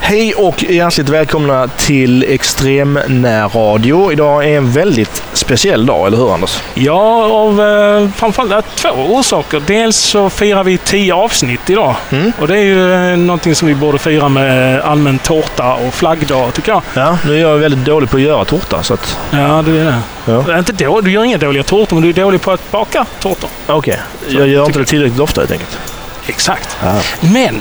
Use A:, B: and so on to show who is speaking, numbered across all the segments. A: Hej och hjärtligt välkomna till Extremnärradio. Idag är en väldigt speciell dag, eller hur Anders?
B: Ja, av eh, framförallt av två orsaker. Dels så firar vi tio avsnitt idag.
A: Mm.
B: Och det är ju eh, någonting som vi borde fira med eh, allmän tårta och flaggdag, tycker jag.
A: Ja, nu är jag väldigt dålig på att göra tårta. Så att...
B: Ja, du är det.
A: Ja.
B: Det är Inte då, du gör inga dåliga tårtor, men du är dålig på att baka tårtor.
A: Okej, jag gör inte det tillräckligt ofta helt enkelt.
B: Exakt.
A: Ja.
B: Men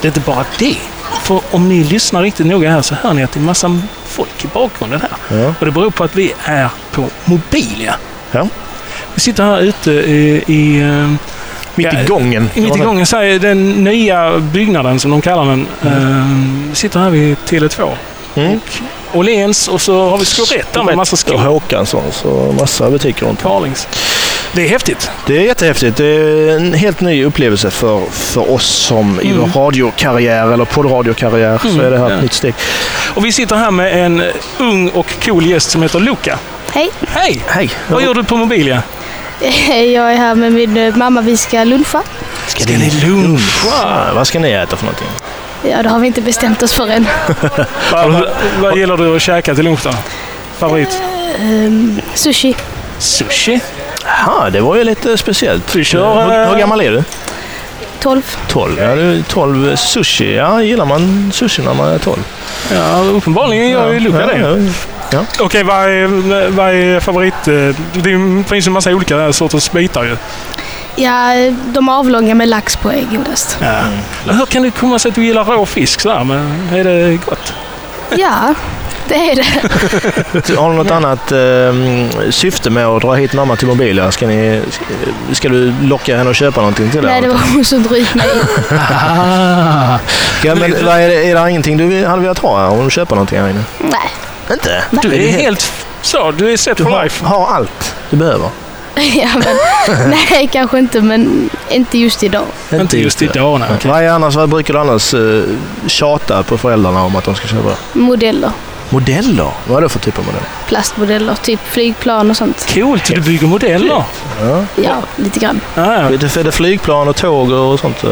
B: det är inte bara det. För om ni lyssnar riktigt noga här så hör ni att det är massa folk i bakgrunden här.
A: Ja.
B: Och det beror på att vi är på Mobilia.
A: Ja.
B: Vi sitter här ute i... i eh,
A: Mitt
B: ja,
A: i gången.
B: Mitt i gången säger den nya byggnaden som de kallar den. eh, sitter här vid Tele2.
A: Mm.
B: Och Åhléns och så har vi Skorett där med massa
A: Och
B: skor.
A: Håkansson, så massa butiker runt om.
B: Carlings. Det är häftigt.
A: Det är jättehäftigt. Det är en helt ny upplevelse för, för oss som i
B: Mm.
A: vår radiokarriär, eller poddradiokarriär, så
B: Mm,
A: är det här
B: ja.
A: ett nytt steg.
B: Och vi sitter här med en ung och cool gäst som heter Luca.
C: Hej,
B: Hej!
A: Hej!
B: Vad gör du på Mobilia?
C: jag är här med min eh, mamma. Vi ska luncha.
A: Ska,
B: ni luncha?
A: Vad ska ni äta för någonting?
C: Ja, det har vi inte bestämt oss för än.
B: Vad, vad, vad gillar du att käka till lunch då? Favorit?
C: Ehm, sushi.
B: Sushi.
A: Jaha, det var ju lite speciellt.
B: Vi kör,
A: hur,
B: eh,
A: hur gammal är du?
C: 12.
A: 12. Ja, du är 12. Sushi, ja gillar man sushi när man är 12?
B: Ja, uppenbarligen gör ju Luca det.
A: ja.
B: Okej, vad är, vad är favorit... eh, Det finns ju en massa olika sorters bitar ju.
C: Ja, de är avlånga med lax på ägg oftast.
B: Ja. Hur kan det komma sig att du gillar rå fisk sådär? Men är det gott?
C: Ja, det är det.
A: Har du något annat eh, syfte med att dra hit mamma till Mobilia? Ska, ni, ska du locka henne att köpa någonting till dig?
C: Nej, det var hon som drog ut mig.
A: ja, men, vad är, det, är det ingenting du hade velat ha här? Om du köper någonting här inne?
C: Nej.
A: Inte?
B: Du är helt f- så. Du är set
A: Du
B: for
A: har,
B: life.
A: har allt du behöver.
C: Ja, men, nej, kanske inte, men inte just idag.
B: Inte just idag. Nej.
A: Vad, är annars, vad brukar du annars eh, tjata på föräldrarna om att de ska köpa?
C: Modeller.
A: Modeller? Vad är det för typ av modell?
C: Plastmodeller, typ flygplan och sånt.
B: Coolt, du bygger modeller.
C: Ja, lite grann.
B: Ja.
A: Är det, är det flygplan och tåg och sånt? eh,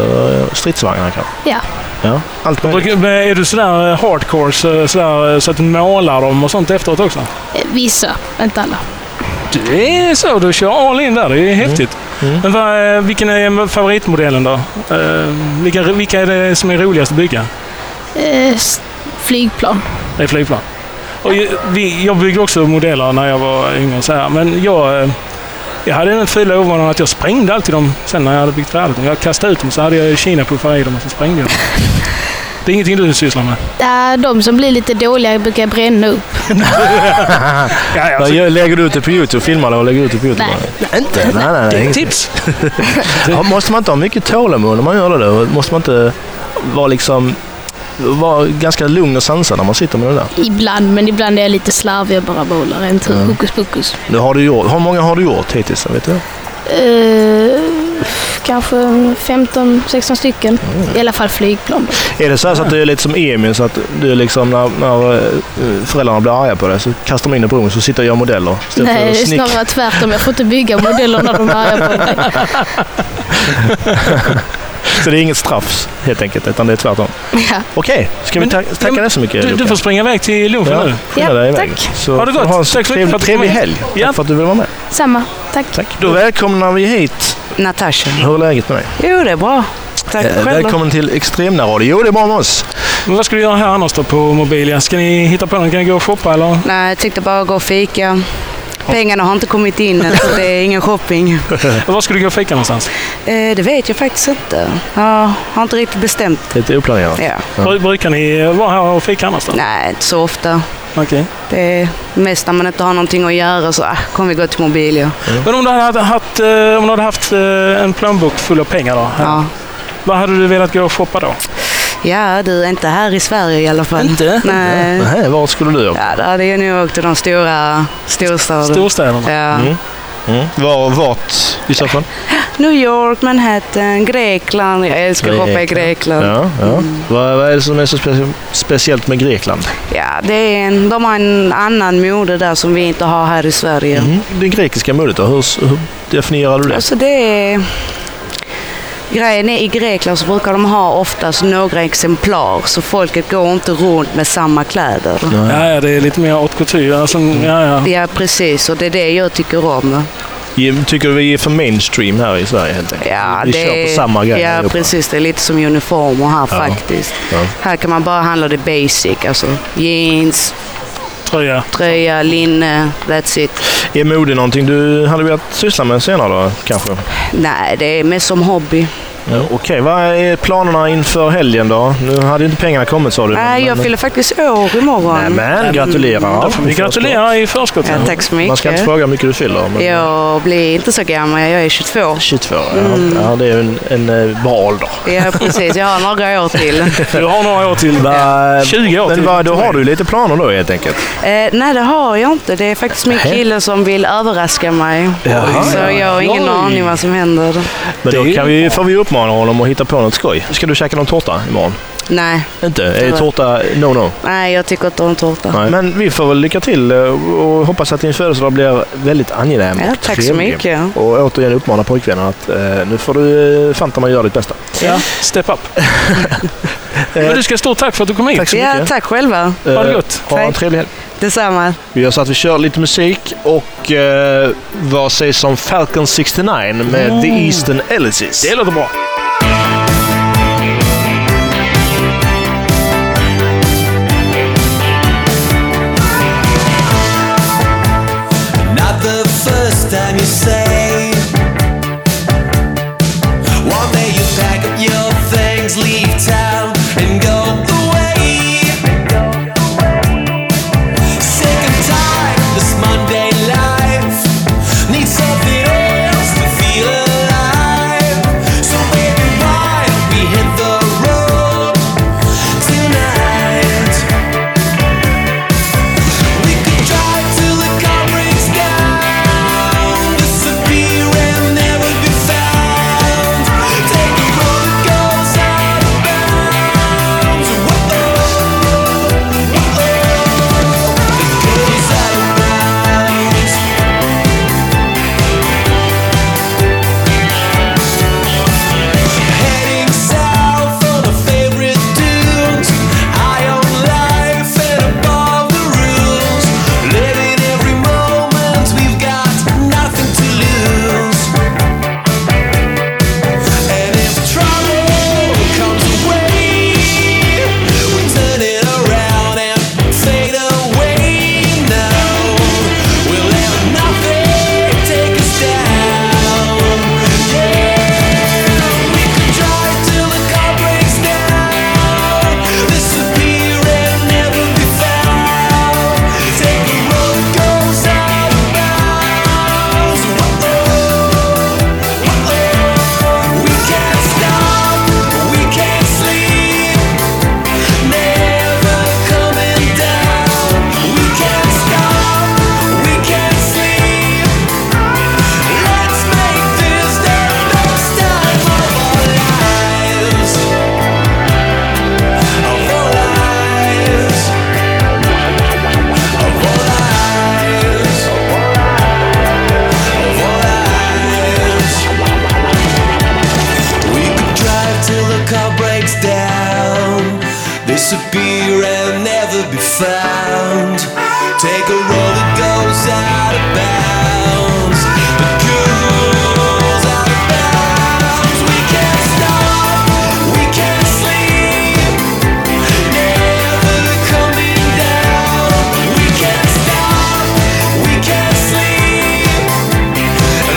A: Stridsvagnar kanske?
C: Ja.
A: Ja. Allt möjligt.
B: Brukar- men Är du sådär eh, hardcore så, sådär, eh, så att du målar dem och sånt efteråt också?
C: Eh, Vissa, inte alla.
B: Du är så. Du kör all in där. Det är häftigt.
A: Mm.
B: Men vad, eh, vilken är favoritmodellen då? Eh, Vilka, vilka är det som är roligast att bygga?
C: Eh, s- flygplan.
B: Det är flygplan. Och jag, vi, jag byggde också modeller när jag var yngre. Så här. Men jag, eh, jag hade den fula ovanan att jag sprängde alltid dem sen när jag hade byggt färdigt dem. Jag kastade ut dem så hade jag kinapuffar i dem och så sprängde jag dem. Det är ingenting du sysslar med?
C: Ja, de som blir lite dåliga brukar jag bränna upp.
B: Ja, alltså- ja,
A: Vad
B: så-
A: gör- lägger du ut det på Youtube? Filmar det och lägger ut det på Youtube?
C: Nej.
A: Inte? Nej, nej,
B: det
A: nej.
B: är ett
A: ingenting.
B: tips.
A: Ja, Måste man inte ha mycket tålamod när man gör det då? Måste man inte vara liksom vara ganska lugn och sansad när man sitter med det där?
C: Ibland, men ibland är jag lite slarvig och bara bollar en tur.
A: Ja.
C: Hokus pokus.
A: Nu har du gjort, hur många har du gjort hittills? Vet du?
C: Eh, kanske 15-16 stycken. I alla fall flygplan. då.
A: Är det så, här så att du är lite som Emil, så att du är liksom när, när eh, föräldrarna blir arga på dig så kastar de in dig på rummet så sitter jag och gör modeller? istället för
C: Nej,
A: att
C: det är
A: snick-
C: snarare tvärtom. Jag får inte bygga modeller när de är arga på mig.
A: Så det är inget straff helt enkelt, utan det är tvärtom?
C: Ja.
A: Okej, ska vi
B: Men-
A: ta- tacka dig så mycket
B: Du,
A: Luca.
B: du får springa iväg till lunchen
A: Ja,
B: nu.
A: skynda dig
C: Ja,
A: iväg.
C: tack.
A: Så
B: Ha det
A: får
B: gott.
A: Ha en
B: Tack så mycket för
A: trevlig,
B: att du kom
A: trevlig
B: hit.
A: helg.
B: Ja.
A: Tack för att du ville vara med.
C: Samma, tack.
A: Tack. Då välkomnar vi hit.
D: Natasha.
A: Hur är läget med dig?
D: Jo, det är bra. Tack
A: Eh,
D: själv. då.
A: välkommen till Extremnärradio. Jo, det är bra med oss.
B: Men vad ska du göra här annars då på Mobilia? Ska ni hitta på något? Kan ni gå och shoppa eller?
D: Nej, jag tänkte bara gå och fika. Pengarna har inte kommit in än, så Alltså, det är ingen shopping.
B: Var ska du gå och fika någonstans?
D: Eh, det vet jag faktiskt inte. Jag har inte riktigt bestämt.
A: Lite oplanerat.
D: Ja.
A: Ja.
B: Bru- Brukar ni vara här och fika annars då?
D: Nej, inte så ofta.
B: Okej.
D: Det är mest när man inte har någonting att göra så ah, kommer vi gå till Mobilio.
B: Men om du hade haft, eh, om du hade haft eh, en plånbok full av pengar då?
D: Ja.
B: Vad hade du velat gå och shoppa då?
D: ja, du är inte här i Sverige i alla fall.
B: Inte?
D: Nej.
A: Nähä, var skulle du åka?
D: Ja, då hade jag nog åkt till de stora storstäderna.
B: Storstäderna?
D: Ja.
A: Mm. Mm. Var, vart i så fall?
D: New York, Manhattan, Grekland. Jag älskar att shoppa i Grekland. Mm.
A: Ja, ja. Vad, vad är det som är så speci- speciellt med Grekland?
D: Ja, det är en, de har en annan mode där som vi inte har här i
A: Mhm.
D: Sverige.
A: Mm. Det grekiska modet då, hur, hur definierar du det?
D: Alltså det är Grejen är i Grekland så brukar de ha oftast några exemplar så folket går inte runt med samma kläder.
B: Ja, ja, det är lite mer haute couture. Alltså, ja, ja.
D: Ja precis och det är det jag tycker om.
A: Ge- Tycker du vi är för mainstream här i Sverige helt enkelt?
D: Ja,
A: vi
D: det
A: kör på
D: är-
A: samma grej
D: Ja
A: allihopa.
D: precis, det är lite som uniformer här
A: Ja.
D: faktiskt.
A: Ja.
D: Här kan man bara handla det basic, alltså jeans,
B: Tröja.
D: tröja, linne, that's it.
A: Är mode någonting du hade velat syssla med senare då, kanske?
D: Nej, det är mest som hobby.
A: Ja, Okej, vad är planerna inför helgen då? Nu hade ju inte pengarna kommit sa du.
D: Nej, jag fyller faktiskt år imorgon.
A: Nej, men gratulerar.
B: Vi gratulerar i förskott.
D: Ja, tack så
A: Man ska inte
D: mycket.
A: fråga hur mycket du fyller. Men
D: Jag blir inte så gammal, jag är 22.
A: 22, ja.
D: Mm.
A: ja. Det är ju en, en eh, bra ålder.
D: Ja, precis. Jag har några år till.
B: Du har några år till.
A: Va-
B: 20 år
A: Men
B: till.
A: va, då har du lite planer då helt enkelt?
D: Eh, nej, det har jag inte. Det är faktiskt min kille som vill överraska mig.
A: Jaha.
D: så jag har ingen
B: Oj.
D: aning vad som händer.
A: Men
B: Det är
A: då
B: ju
A: kan vi, får vi uppmana honom att hitta på något skoj. Ska du käka någon tårta imorgon?
D: Nej,
A: Inte? Är tårta no no?
D: nej jag tycker inte om tårta.
A: Nej. Men vi får väl lycka till eh, och hoppas att din födelsedag blir väldigt angenäm
D: Ja,
A: och
D: tack så
A: trevlig.
D: mycket.
A: Och återigen uppmana pojkvännen att eh, nu får du eh, fanta man göra ditt bästa.
B: Ja, step up. Men du ska stort tack för att du kom hit.
A: Tack så
D: Ja,
A: mycket.
D: tack själva.
B: Ha det
A: Eh,
B: gott.
A: Ha en
D: Tack.
A: trevlig helg.
D: Detsamma.
A: Vi gör så att vi kör lite musik och eh, vad sägs om Falcon 69 med
D: Mm.
A: The Eastern Elysis?
B: Det låter bra.
E: Not the first time you say One day you pack up your things, leave town and go away Sick and tired of this Monday life Need something else to feel alive So baby why don't we hit the road tonight we could drive till the car breaks down, disappear and never be found. Take a road that goes out of bounds. goes out of bounds. Heading south on a favorite dunes. Eye on life and above the rules. Living every moment, we've got nothing to lose. And if trouble comes away, we turn it around and fade away. Now we'll let nothing take us down. Yeah, we could drive till the car breaks down, disappear and never be found. Take a road that goes out of bounds. We can't stop, we can't sleep. Never coming down. We can't stop, we can't sleep. Let's make this the best time of our lives. Of our lives. Of our lives. Of our lives. We could drive till the car breaks down, disappear and never be found. Take a road that goes out of bounds, that goes out of bounds. We can't stop, we can't sleep. Never coming down. We can't stop, we can't sleep.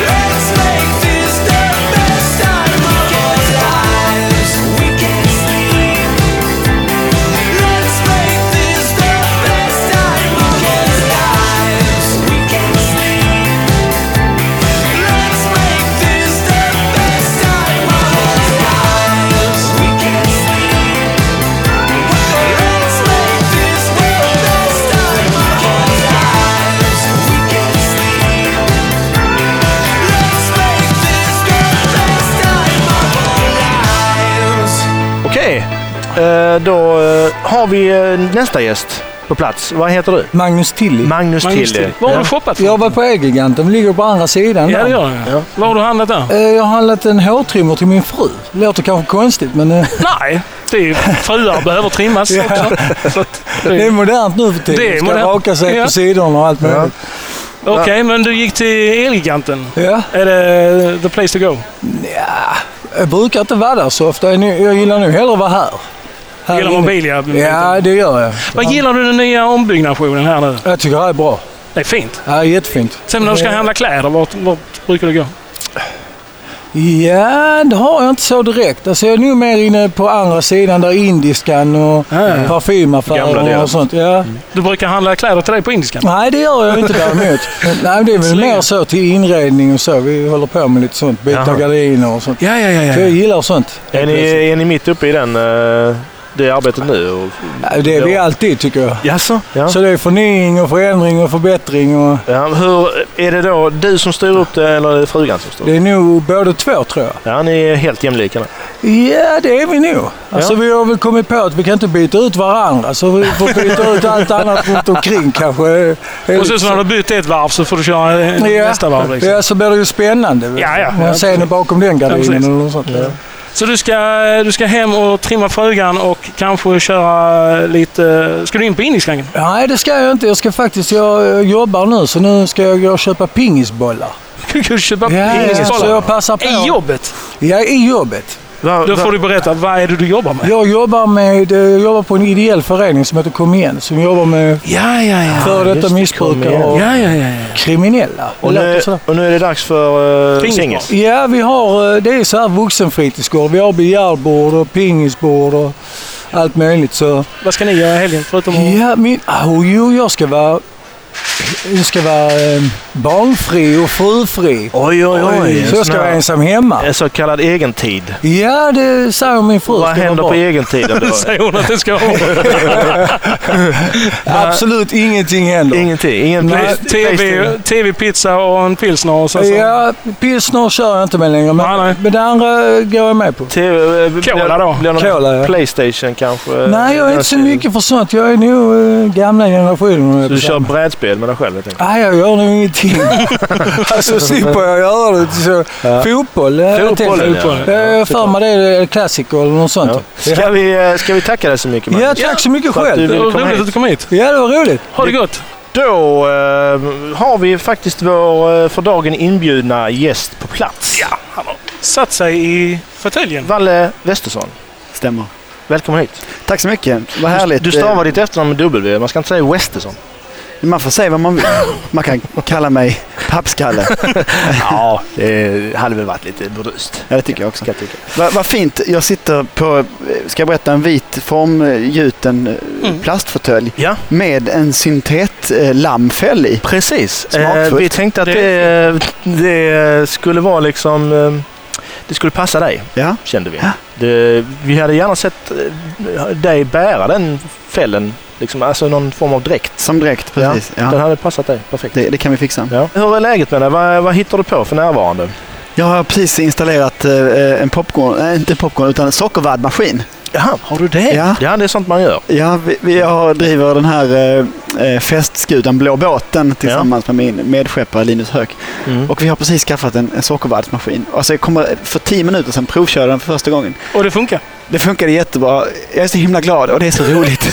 E: Let's make this the best time of our lives. We can't sleep. Let's make this the best time of our lives. We can't sleep. Let's make this the best time of our lives. We can't sleep. Let's make this the best time of our lives. We can't sleep. Let's make this the best time of our lives.
A: Okej, eh, då eh, har vi eh, nästa gäst. på plats. Vad heter du?
F: Magnus Tilly.
A: Magnus,
B: Magnus
A: Tilly.
B: Tilly. Var har
A: Ja.
B: du shoppat för?
F: Jag var på Elgiganten, de ligger på andra sidan.
B: Ja,
F: där.
B: det gör jag.
A: Ja.
B: Var har du handlat där?
F: Eh, Jag har handlat en hårtrimmer till min fru. Låter kanske konstigt men eh,
B: Nej, det är ju fruar behöver trimmas också. Så att, det
F: det är
B: är-
F: modernt nu för tiden.
B: Det är
F: Ska
B: modernt.
F: raka sig
B: Ja.
F: på sidorna och allt möjligt.
B: Okej, men du gick till Elgiganten.
F: Ja.
B: Är det the place to go?
F: Jag brukar inte vara där så ofta. Jag nu- jag gillar nu hellre att vara här. här
B: Gillar
F: inne.
B: Mobilia?
F: Ja, det gör jag.
B: Vad gillar du den nya ombyggnationen här nu?
F: Jag tycker det här är bra.
B: Det är fint.
F: Det här är jättefint.
B: Sen när du ska handla kläder, vart, vart brukar du gå?
F: Ja, det har jag inte så direkt. Alltså, jag är nu mer inne på andra sidan där indiskan och
B: ja. Mm.
A: Gamla
F: Mm. parfymaffärer
A: delen.
F: och sånt. Ja.
B: Du brukar handla kläder till dig på indiskan?
F: Nej, det gör jag inte däremot. Men, Nej, men det är väl mer så till inredning och så. Vi håller på med lite sånt. Byta
A: Jaha.
F: gardiner och sånt.
B: Ja, ja, ja.
F: Så jag
B: ja.
F: gillar sånt.
A: Är ni, är ni mitt uppe i den, eh, det arbetet nu? Och,
F: Ja, Det är vi alltid tycker jag.
A: Jaså? Ja.
F: Så det är förnying och förändring och förbättring. Och
A: Ja, hur, är det då du som styr upp det eller är det frugan som styr upp
F: det är nog både två tror jag.
A: det? Ja, ni är helt jämlika. nu.
F: Ja, det är vi nog. Alltså, Vi har väl kommit på att vi kan inte byta ut varandra. Så vi får byta ut allt annat runt omkring kanske.
B: Och sen så när du har bytt ett varv så får du köra eh, nästa varv. Liksom.
F: ja, så blir det ju spännande.
B: Ja, ja.
F: Man ser henne bakom den
B: Ja,
F: gardinen
B: precis.
F: eller något sånt. Ja.
B: Så du ska, du ska hem och trimma frugan och kanske köra lite... Ska du in på indiskan?
F: Nej, det ska jag inte. Jag ska faktiskt... Jag jag jobbar nu, så nu ska jag gå och köpa pingisbollar.
B: Du kan köpa
F: så
B: pingisbollar.
F: jag passar på.
B: I jobbet?
F: Ja, i jobbet.
A: Va,
B: Då
A: va-
B: får du berätta, vad är det du jobbar med?
F: Jag jobbar, med, eh, jag jobbar på en ideell förening som heter Kom igen, som jobbar med
B: Ja, ja, ja.
F: före
A: just
F: detta
A: det, Kom
F: missbrukare
A: igen.
F: och
B: Ja, ja, ja. ja.
F: kriminella. Det
A: och, nu,
F: låter sådär.
A: och nu är det dags för eh,
B: Pingis.
A: singis.
F: Ja, vi har, eh, det är så här vuxenfritidsgård. Vi har biljardbord och pingisbord och allt möjligt. Så.
B: Vad ska ni göra i helgen? Förutom att...
F: Ja, min... Oh, jo, jag ska vara... Jag ska vara eh, barnfri och frufri.
A: Oj, oj, oj.
F: så jag
A: sån
F: ska
A: här-
F: vara ensam hemma.
A: en Eh, så kallad egentid.
F: Ja, det säger min fru.
A: Vad
F: ska
A: händer
F: vara bra.
A: på egentiden då?
B: Säger hon att det ska vara.
F: Absolut ingenting händer.
A: Ingenting. Ingen
F: Nej,
A: play-
B: TV,
A: Playstation.
B: TV, pizza och en pilsner och sen så...
F: Ja, pilsner kör jag inte med längre, men,
B: Nej, nej.
F: men det andra eh, går jag med på.
A: TV, eh, blir-
B: Cola då?
A: Blir det någon
F: Cola, ja.
A: Playstation eh, kanske?
F: Nej, jag är inte så mycket för sånt. Jag är nog eh, gamla generationen.
A: Så du kör brädspel med dig själv? Jag tänker.
F: Nej, jag gör nog ingenting. alltså slipper jag göra det. Så, Fotboll. eh, jag
A: Fotbollen,
F: tänker-
A: ja.
F: Eh, Jag har för mig det är klassiker eller något sånt.
A: Ja.
F: Ja.
A: Ska, vi, eh, ska vi tacka dig så mycket
F: Ja,
A: Magnus?
F: tack så mycket
A: För att
F: själv.
A: du-
B: Det var
A: Välkommen
B: roligt
A: hit.
B: att du kom hit.
F: Ja, det var roligt.
B: Ha det gott!
A: Då eh, har vi faktiskt vår eh, för dagen inbjudna gäst på plats.
B: Ja, han har satt sig i fåtöljen.
A: Valle Westersson,
G: Stämmer.
A: välkommen hit.
G: Tack så mycket. Vad härligt.
A: Du stavar ditt efternamn med W, man ska inte säga Westersson.
G: Eh, Man får säga vad man vill. Man kan kalla mig Pappskalle.
A: Ja, det hade väl varit lite burdust.
G: Ja, det tycker jag också.
A: Ska jag tycka.
G: Vad vad fint. Jag sitter på, eh, ska jag berätta, en vit formgjuten eh,
B: Mm.
G: plastfåtölj
A: Ja,
G: med en syntetlammfäll i.
A: precis.
G: Smakfullt.
A: Eh, vi tänkte att det, det skulle vara liksom... eh, Det skulle passa dig,
G: Ja.
A: kände vi.
G: Ja.
A: Det, vi hade gärna sett eh, dig bära den fällen, liksom, alltså någon form av dräkt.
G: Som direkt, precis. Ja.
A: Den hade passat dig perfekt.
G: Det, det kan vi fixa.
A: Ja. Hur är läget med dig? Vad, vad hittar du på för närvarande?
G: Jag har precis installerat eh, en popcorn, nej inte popcorn, utan en sockervaddmaskin.
A: Jaha, har du det? Ja.
G: Ja.
A: ja, det är sånt man gör.
G: Ja, vi, vi har, driver den här eh, eh, festskutan Blå båten tillsammans med min medskeppare Linus Höök.
A: Mm.
G: Och vi har precis skaffat en, en sockervaddsmaskin. Alltså jag kommer för tio minuter sedan provköra den för första gången.
B: Och det funkar.
G: Det funkade jättebra. Jag är så himla glad och det är så roligt.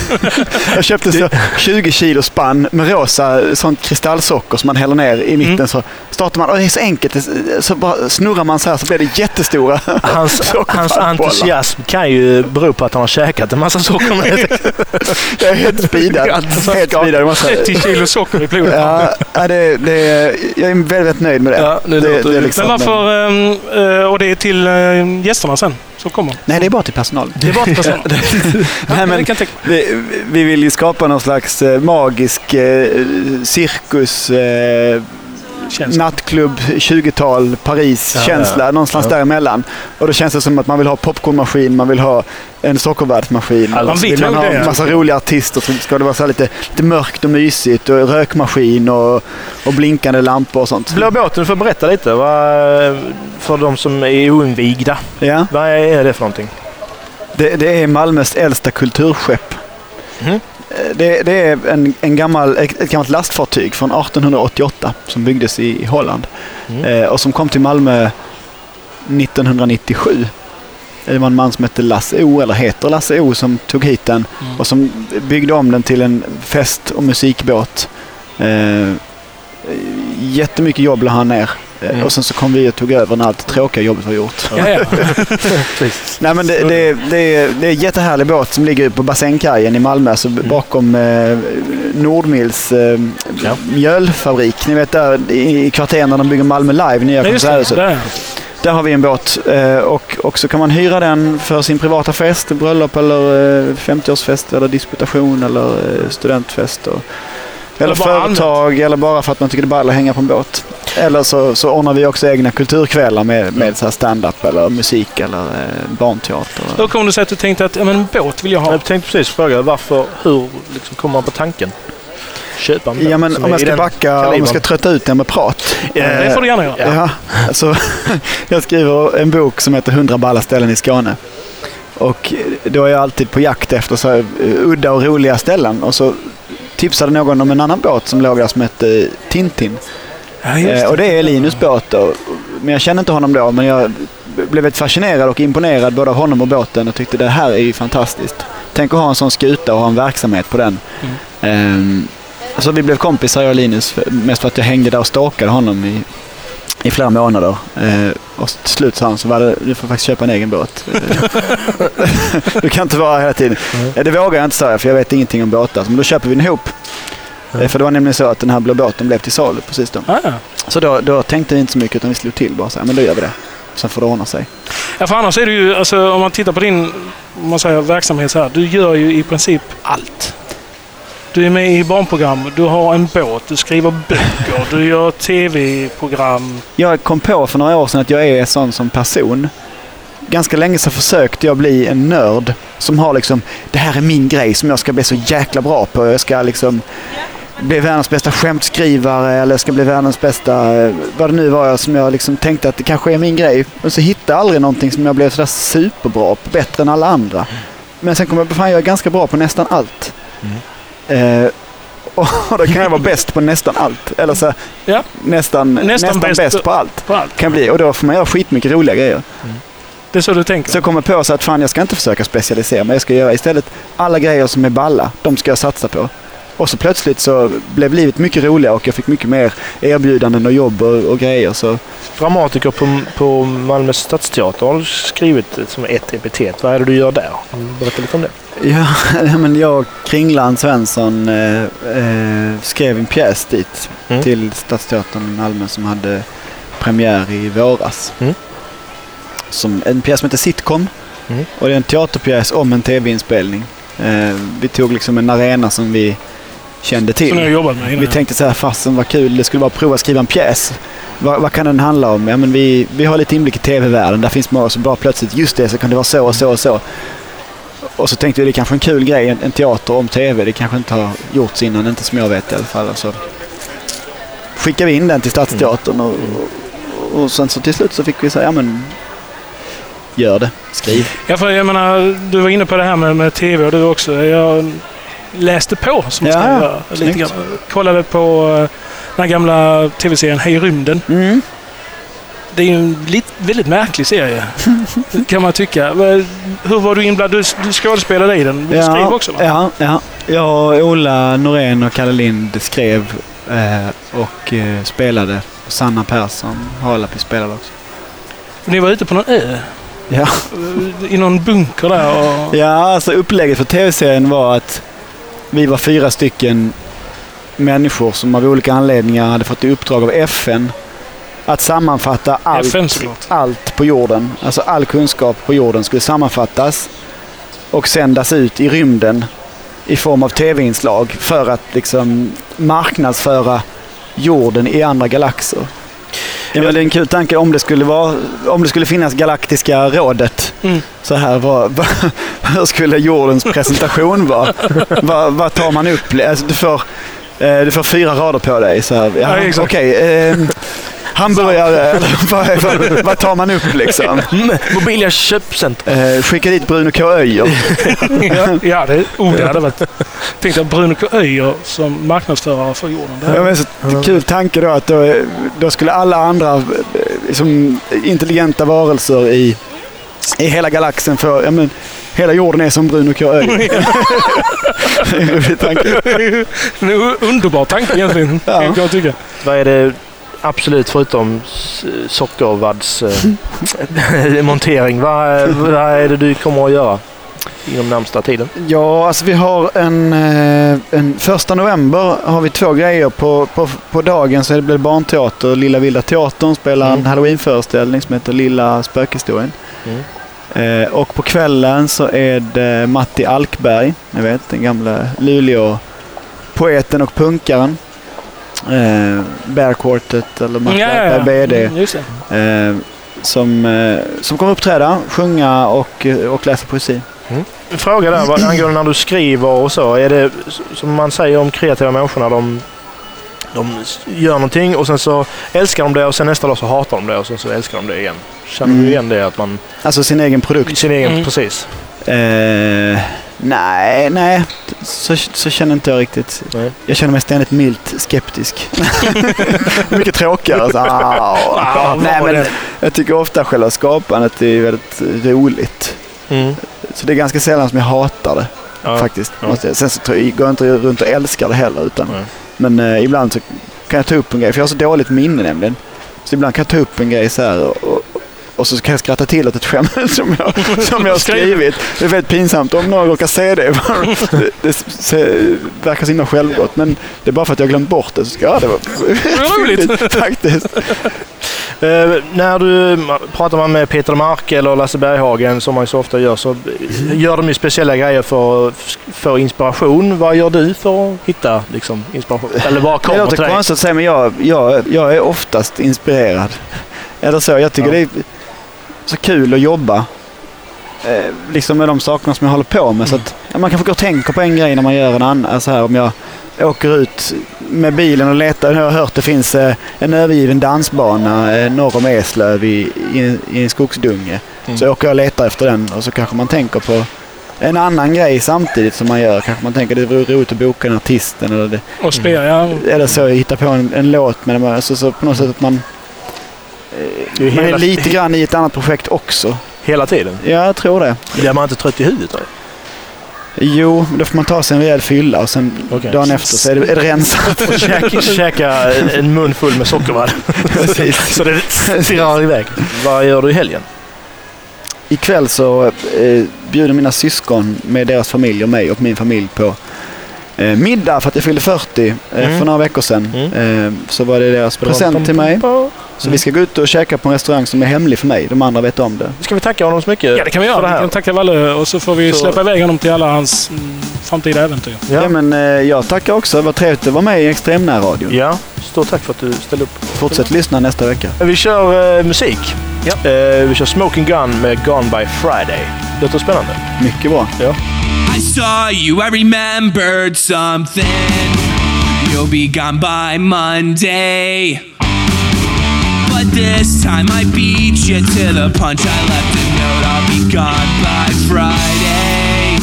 G: jag köpte så 20 kilo spann med rosa sånt kristallsocker som man häller ner i mitten.
B: Mm.
G: Så startar man och det är så enkelt. Det- Så bara snurrar man så här så blir det jättestora.
A: Hans,
G: Sockervaddbollar.
A: hans entusiasm kan ju bero på att han har käkat en massa socker. med.
G: jag är helt speedad. helt speedad. Jag måste säga.
B: 30 kilo socker i blodet.
G: Ja, ja, det, det, jag är väldigt, väldigt nöjd med det.
A: Ja, det låter-
G: är liksom-
B: Men varför... ehm, eh, Och det är till eh, gästerna sen som kommer.
G: Nej, det är bara till personalen.
B: Det är bara till personal.
G: Nej, men-
B: Det kan jag tänka mig.
G: Vi, vi vill ju skapa någon slags eh, magisk eh, cirkus, eh,
B: Känns-
G: nattklubb, 20-tal, Paris-känsla, någonstans däremellan. Och då känns det som att man vill ha popcornmaskin, man vill ha en sockervärdsmaskin.
B: man
G: Så
B: vill
G: vill man
B: nog
G: ha
B: det.
G: en massa roliga artister så ska det vara så här lite, lite mörkt och mysigt och rökmaskin och, och blinkande lampor och sånt.
A: Blå båten, du får berätta lite vad, för de som är oinvigda.
G: Ja,
A: Vad är det för någonting?
G: det, det är Malmös äldsta kulturskepp.
B: Mhm.
G: Det, det är en, en gammal, ett ett gammalt lastfartyg från 1888 som byggdes i, i Holland.
B: Mhm.
A: Mm.
G: Eh, och som kom till Malmö 1997. Det var en man som hette Lasse O, eller heter Lasse O, som tog hit den
B: Mm.
G: och som byggde om den till en fest och musikbåt. Eh, jättemycket jobb la han ner. Eh,
A: Mm.
G: Och sen så kom vi och tog över när allt tråkiga jobbet var gjort.
B: Ja, ja.
G: Nej, men det, det, det, är- det är en jättehärlig båt som ligger på bassängkajen i Malmö, alltså
B: Mm.
G: b- bakom eh, Nordmills eh,
A: Ja.
G: mjölfabrik. Ni vet där i i kvarteren där de bygger Malmö Live, nya
B: Nej, just det.
G: konserthuset.
B: Där.
G: Där har vi en båt eh, och, och så kan man hyra den för sin privata fest, bröllop eller eh, 50-årsfest eller disputation eller eh, studentfest. Och, eller
B: Eller bara
G: företag eller bara för att man tycker det är ball att hänga på en båt. Eller så, så ordnar vi också egna kulturkvällar med, med så här stand-up eller musik eller eh, barnteater.
B: Hur kom det sig att du tänkte att ja, men en båt vill jag ha?
A: Jag tänkte precis fråga varför, hur liksom, kommer man på tanken? Köpa en båt
G: Ja, men
A: som
G: om
A: är
G: jag
A: i
G: ska
A: den
G: backa, om
A: kalibern?
G: jag ska trötta ut er med prat. Eh,
B: det får du gärna göra.
G: Ja. så jag skriver en bok som heter 100 balla ställen i Skåne. Och då är jag alltid på jakt efter så här eh, udda och roliga ställen. Och så tipsade någon om en annan båt som låg där som hette Tintin.
B: Ja,
G: Eh,
B: just det.
G: och det är Linus båt då. Men jag kände inte honom då, men jag blev väldigt fascinerad och imponerad både av honom och båten och tyckte det här är ju fantastiskt. Tänk att ha en sån skuta och ha en verksamhet på den.
B: Mm.
G: Ehm, så vi blev kompisar jag och Linus, för- mest för att jag hängde där och stalkade honom i, i flera månader. Eh, och till slut sa han så var det, du får faktiskt köpa en egen båt. Eh, du kan inte vara här hela tiden.
B: Mm.
G: Eh, Det vågar jag inte säga för jag vet ingenting om båtar. Men då köper vi den ihop. Eh, För det var nämligen så att den här blå båten blev till salu precis då.
B: Ah.
G: Så då, då tänkte vi inte så mycket utan vi slog till bara så här, men då gör vi det. Sen får det ordna sig.
B: Ja, för annars är det ju, alltså, om man tittar på din om man säger, verksamhet så här, du gör ju i princip allt. Du är med i barnprogram, du har en båt, du skriver böcker, du gör tv-program.
G: Jag kom på för några år sedan att jag är sån som person. Ganska länge så försökte jag bli en nörd som har liksom, det här är min grej som jag ska bli så jäkla bra på. Jag ska liksom bli världens bästa skämtskrivare eller jag ska bli världens bästa, eh, vad det nu var jag som jag liksom tänkte att det kanske är min grej. Men så hittade jag aldrig någonting som jag blev sådär superbra på, bättre än alla andra. Men sen kom jag på, fan jag är ganska bra på nästan allt. Eh, och då kan jag vara bäst på nästan allt. Eller så här,
B: Ja.
G: nästan, nästan,
B: bäst
G: bäst,
B: på-
G: på allt.
B: På allt. Mm.
G: Kan bli, och då får man göra skitmycket roliga grejer.
B: Det är så du tänker?
G: Så jag kommer på så att fan jag ska inte försöka specialisera mig. Jag ska göra istället alla grejer som är balla. De ska jag satsa på. Och så plötsligt så blev livet mycket roligare och jag fick mycket mer erbjudanden och jobb och, och grejer. Så
A: Dramatiker på, på Malmö Stadsteater har skrivit som ett epitet. Vad är det du gör där?
G: Mm,
A: Berätta lite om det.
G: Ja, nej, men jag och Kringlan Svensson eh, eh, skrev en pjäs dit
A: Mm.
G: till Stadsteatern i Malmö som hade premiär i våras.
A: Mm.
G: Som, en pjäs som heter Sitcom
A: Mm.
G: och det är en teaterpjäs om en tv-inspelning. Eh, vi tog liksom en arena som vi kände till.
B: Som jag har jobbat med
G: Vi
B: innan.
G: tänkte så här, fasen vad kul det skulle vara att prova att skriva en pjäs. Vad, vad kan den handla om? Ja, men vi, vi har lite inblick i tv-världen. Där finns många som bara plötsligt, just det, så kan det vara så och så och så. Och så tänkte vi, det är kanske en kul grej, en, en teater om tv. Det kanske inte har gjorts innan, inte som jag vet i alla fall. Och Så skickade vi in den till Stadsteatern och, och, och sen så till slut så fick vi säga, ja men gör det, skriv.
B: Ja, för jag menar, du var inne på det här med, med tv och du också. Jag läste på som man ska
G: Ja,
B: göra. Lite
G: snyggt.
B: grann. Kollade på eh, den här gamla tv-serien Hej rymden.
G: Mm.
B: Det är ju en lit, väldigt märklig serie, kan man tycka. Men Hur var du inblandad? Du, du skådespelade i den. Du skrev också, va?
G: Ja, ja. Jag, Ola Norén och Kalle Lind skrev eh, och eh, spelade. Och Sanna Persson, Halapi spelade också.
B: Ni var ute på någon ö,
G: Ja.
B: eh, i någon bunker där. Och...
G: ja, alltså upplägget för tv-serien var att vi var fyra stycken människor som av olika anledningar hade fått i uppdrag av FN att sammanfatta allt
B: FN såklart.
G: allt på jorden, alltså all kunskap på jorden skulle sammanfattas och sändas ut i rymden i form av tv-inslag för att liksom marknadsföra jorden i andra galaxer. Ja, men det är en kul tanke om det skulle, vara, om det skulle finnas Galaktiska rådet.
B: Mm.
G: Så här, vad, vad, hur skulle jordens presentation vara? vad, vad tar man upp? Alltså, du, får, eh, du får fyra rader på dig. Så här, ja,
B: Ja, exakt.
G: Okej, ehm, hamburgare, eller vad, vad, vad tar man upp liksom?
A: Mm, Mobilia köpcenter.
G: Eh, skicka dit Bruno K. Öijer.
B: Ja, ja det, oh, det hade varit... Tänk dig Bruno K. Öijer som marknadsförare för Jordan. Det
G: Ja,
B: hade,
G: men så kul tanke då att då, då skulle alla andra eh, liksom, intelligenta varelser i, i hela galaxen få... Ja, men, hela jorden är som Bruno K. Öijer. Det är en rolig tanke.
B: det är en underbar tanke egentligen,
G: Ja.
B: kan jag tycka.
A: Vad är det absolut förutom s- sockervadds eh, montering? Vad, vad är det du kommer att göra inom närmsta tiden?
G: Ja, alltså vi har en, eh, en... Första november har vi två grejer. På, på, på dagen så är det blir det barnteater. Lilla Vilda Teatern spelar en
A: Mm.
G: halloweenföreställning som heter Lilla Spökhistorien.
B: Mm.
G: Eh, och på kvällen så är det Matti Alkberg, ni vet den gamla Luleå-poeten och punkaren. Eh, Bear Quartet eller Matti Alkberg BD.
B: Mm, Just det.
G: Eh, som, eh, som kommer uppträda, sjunga och, eh, och läsa poesi.
B: Mm.
A: En fråga där vad, angående när du skriver och så. Är det s- som man säger om kreativa människor när de, de s- gör någonting och sen så älskar de det och sen nästa dag så hatar de det och sen så älskar de det igen. Känner du
G: Mm.
A: igen det? Att man,
G: Alltså sin egen produkt.
A: sin egen,
B: Mm.
A: precis.
G: Eh, nej, nej. Så, så känner inte jag riktigt.
A: Nej.
G: Jag känner mig ständigt milt skeptisk. Mycket tråkigare. Så, "Au."
B: vad
G: nej,
B: var
G: men
B: det?
G: jag tycker ofta själva skapandet är väldigt roligt. Så det är ganska sällan som jag hatar det
A: Ja.
G: faktiskt.
A: Ja.
G: Måste jag. Sen så tror jag, går jag inte runt och älskar det heller. Utan,
A: Nej.
G: men eh, ibland så kan jag ta upp en grej, för jag har så dåligt minne nämligen. Så ibland kan jag ta upp en grej så här och, och, och så kan jag skratta till åt ett skämt som jag, som jag har skrivit. Det är väldigt pinsamt om någon råkar se det. det, det se, verkar så himla självgott, men det är bara för att jag har glömt bort det. Så ska, ja, det var
B: roligt.
G: faktiskt.
A: Eh, när du pratar man med Peter Mark eller Lasse Berghagen som man ju så ofta gör så
G: Mm.
A: gör de ju speciella grejer för, för inspiration. Vad gör du för att hitta liksom, inspiration? Eller vad
G: Det
A: kommer till
G: låter
A: dig?
G: konstigt att säga, men jag, jag, jag är oftast inspirerad. Eller så. Jag tycker
A: Ja.
G: det är så kul att jobba eh, liksom med de sakerna som jag håller på med. Så att,
A: Mm.
G: ja, man kanske går och tänker på en grej när man gör en annan. Så här, om jag åker ut med bilen och letar. Jag har hört det finns eh, en övergiven dansbana eh, norr om Eslöv i, i, i en skogsdunge.
A: Mm.
G: Så åker jag och letar efter den och så kanske man tänker på en annan grej samtidigt som man gör. Kanske man tänker det vore roligt att boka den artisten eller det,
B: Och spela, ja.
G: eller så hitta på en, en låt med dem. Alltså, så på något sätt att man, eh,
A: Det är
G: man är
A: hela-
G: lite grann i ett annat projekt också.
A: Hela tiden?
G: Ja, jag tror det.
A: Blir man inte trött i huvudet då?
G: Jo, då får man ta sig en rejäl fylla och sen
A: Okej.
G: dagen efter så är det, är det rensat.
A: Käka, käka en mun full med sockervadd
G: Precis.
A: så det stirrar iväg. Vad gör du i helgen?
G: Ikväll så eh, bjuder mina syskon med deras familj och mig och min familj på eh, middag för att jag fyllde 40 eh,
A: Mm.
G: för några veckor sedan. Eh, så var det deras present till mig. Så vi ska gå ut och käka på en restaurang som är hemlig för mig. De andra vet om det.
A: Ska vi tacka honom så mycket?
B: Ja, det kan vi
A: För det
B: göra.
A: här.
B: Vi kan tacka Valle och så får vi
A: Så-
B: släppa iväg honom till alla hans mm, framtida äventyr.
A: Ja.
G: Ja, men eh, jag tackar också. Vad trevligt att vara med i Extremnärradion.
A: Ja, stort tack för att du ställde upp.
G: Fortsätt lyssna nästa vecka.
A: Vi kör eh, musik. Eh, vi kör Smoking Gun med Gone By Friday. Låter spännande.
G: Mycket bra.
E: I saw you, I remembered something. You'll be gone by Monday. But this time I beat you to the punch. I left a note, I'll be gone by Friday.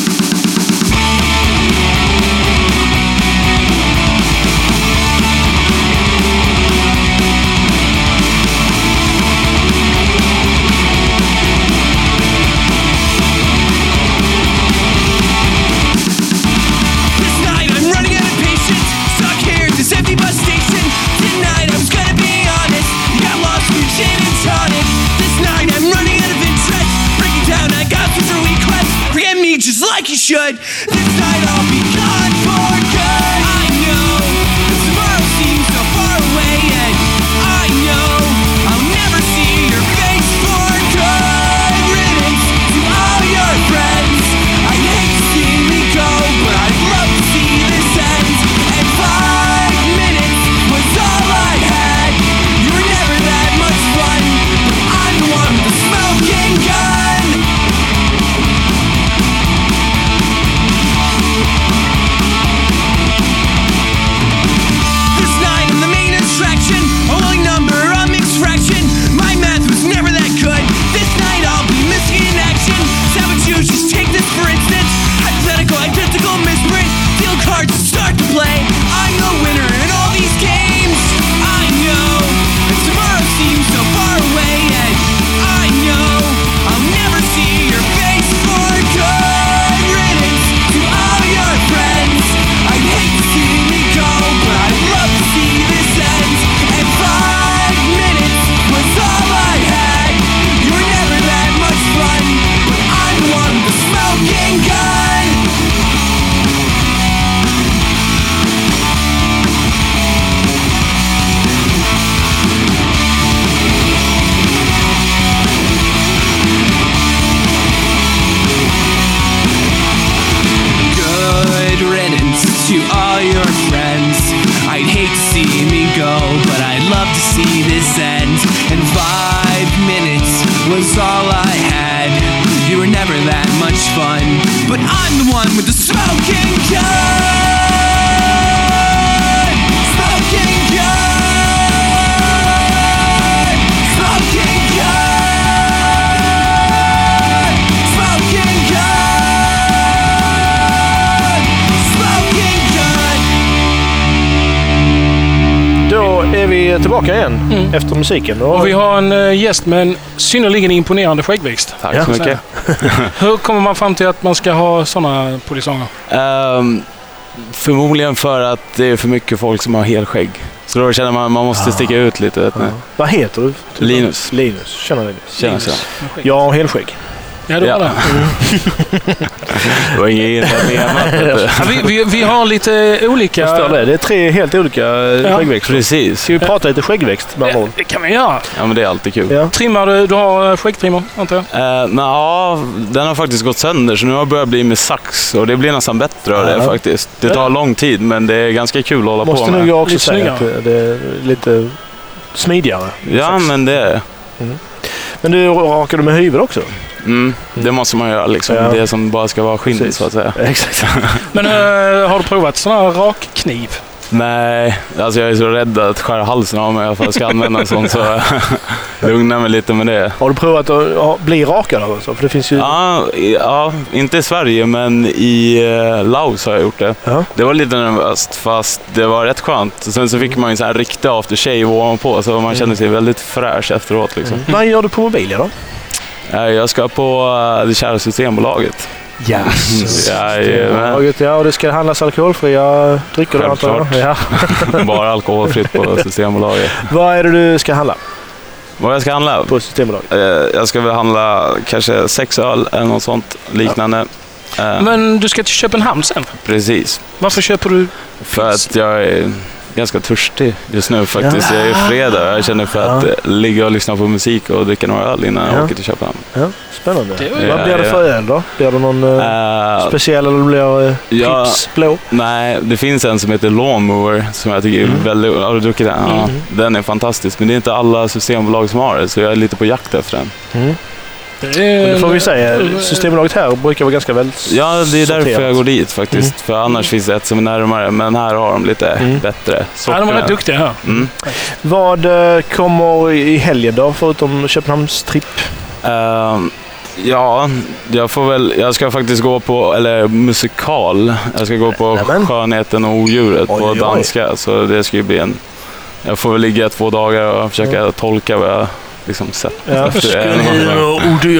E: This night I'm running out of patience. Stuck here at this empty bus station. Tonight I was gonna be honest. Got lost with gin and tonic. This night I'm running out of interest. Breaking down, I got through the request. Forget me just like you should. This night I'll be gone for good. I know that tomorrow seems so far away, and I know I'll never see your face for good. Riddance to all your friends. I hate to see me go, but I'd love to see this end. And five minutes was all I had. You were never that much fun. But I'm the one with the smoking gun. to all your friends. I'd hate to see me go, but I'd love to see this end. And five minutes was all I had. You were never that much fun, but I'm the one with the smoking gun. Smoking gun. Smoking gun. Smoking gun. Smoking gun.
A: Då är vi tillbaka igen efter musiken. Då
B: Mm. Och vi har en eh, gäst med en synnerligen imponerande skäggväxt.
H: Tack
A: Ja.
H: så mycket.
B: Hur kommer man fram till att man ska ha sådana polisonger?
H: Ehm, förmodligen för att det är för mycket folk som har helskägg. Så då känner man att man måste sticka
A: Ah.
H: ut lite. Vet ni?
A: Vad heter du?
H: Linus.
A: Linus. Tjena Linus.
H: Tjena, tjena.
A: Jag har helskägg.
B: Ja, det
H: Ja.
B: var det.
H: Det var inget illa menat. vet du.
B: Ja, vi, vi, vi har lite olika...
A: Jag förstår det. Det är tre helt olika ja. skäggväxter.
H: Precis.
A: Ska vi prata lite skäggväxt med andra ord?
B: Det kan vi göra.
H: Ja, men det är alltid kul.
A: Ja.
B: Trimmar du? Du har eh, skäggtrimmer, antar jag?
H: Uh, ja, den har faktiskt gått sönder så nu har jag börjat bli med sax och det blir nästan bättre av det
A: Ja.
H: faktiskt. Det tar lång tid men det är ganska kul att hålla
A: Måste
H: på med.
A: nog jag också
B: Lite
A: säga att
B: snyggare.
A: det det är lite smidigare.
H: Ja, men det är
A: Mm. Men du rakar du med hyvel också?
H: mm, det. måste man göra liksom.
A: Ja.
H: Det som bara ska vara skinn
A: Precis.
H: så att säga.
A: Exakt.
B: Men eh, har du provat sån här rakkniv?
H: Nej, alltså jag är så rädd att skära halsen av mig för jag ska använda en sån så lugna mig lite med det.
A: Har du provat att ja, bli rakad? Alltså? För det finns ju...
H: Ja, i- ja, inte i Sverige men i eh, Laos har jag gjort det.
A: Ja.
H: Det var lite nervöst fast det var rätt skönt. Sen så fick man ju så här riktig after shave ovanpå så man kände sig väldigt fräsch efteråt. Liksom.
A: Mm. Vad gör du på Mobilia då?
H: Eh, Jag ska på eh, det kära Systembolaget.
A: Yes.
H: Jajamän.
A: Ja, och det ska handlas alkoholfria drycker och allt det där.
H: Självklart.
A: ja.
H: Bara alkoholfritt på Systembolaget.
A: Vad är det du ska handla
H: Vad jag ska handla?
A: på Systembolaget?
H: Eh, Jag ska väl handla kanske sex öl eller något sånt liknande. Eh,
B: Men du ska till Köpenhamn sen.
H: Precis.
B: Varför köper du?
H: För att jag är ganska törstig just nu faktiskt. Det är fredag och jag känner för att eh, ligga och lyssna på musik och dricka några öl innan
A: Ja.
H: jag åker till Köpenhamn.
A: Ja, spännande.
B: Det
H: var-
A: Vad blir det
H: Ja,
A: för öl då? Blir det någon eh,
H: Eh,
A: speciell eller blir eh, det
H: ja.
A: Pripps blå?
H: Nej, det finns en som heter Lawnmower som jag tycker är
B: Mm.
H: väldigt... Har du druckit den? Ja, den är fantastisk. Men det är inte alla systembolag som har det, så jag är lite på jakt efter den.
A: Men Det får vi säga. Systembolaget här brukar vara ganska väl
H: Ja, det är därför jag
A: sorterat.
H: går dit faktiskt.
B: Mm.
H: För annars finns det ett som är närmare, men här har de lite bättre
B: Ja, de är rätt duktiga Mm. här.
H: Mm.
A: Vad eh, kommer i helgen då, förutom Köpenhamns tripp?
H: Ehm, ja, jag får väl... Jag ska faktiskt gå på... Eller musikal. Jag ska gå på
A: Nämen.
H: Skönheten och odjuret
A: Oj,
H: på
A: oj, oj.
H: danska. Så det ska ju bli en... Jag får väl ligga två dagar och försöka
A: Mm.
H: tolka vad jag liksom sett. efter en och en halv.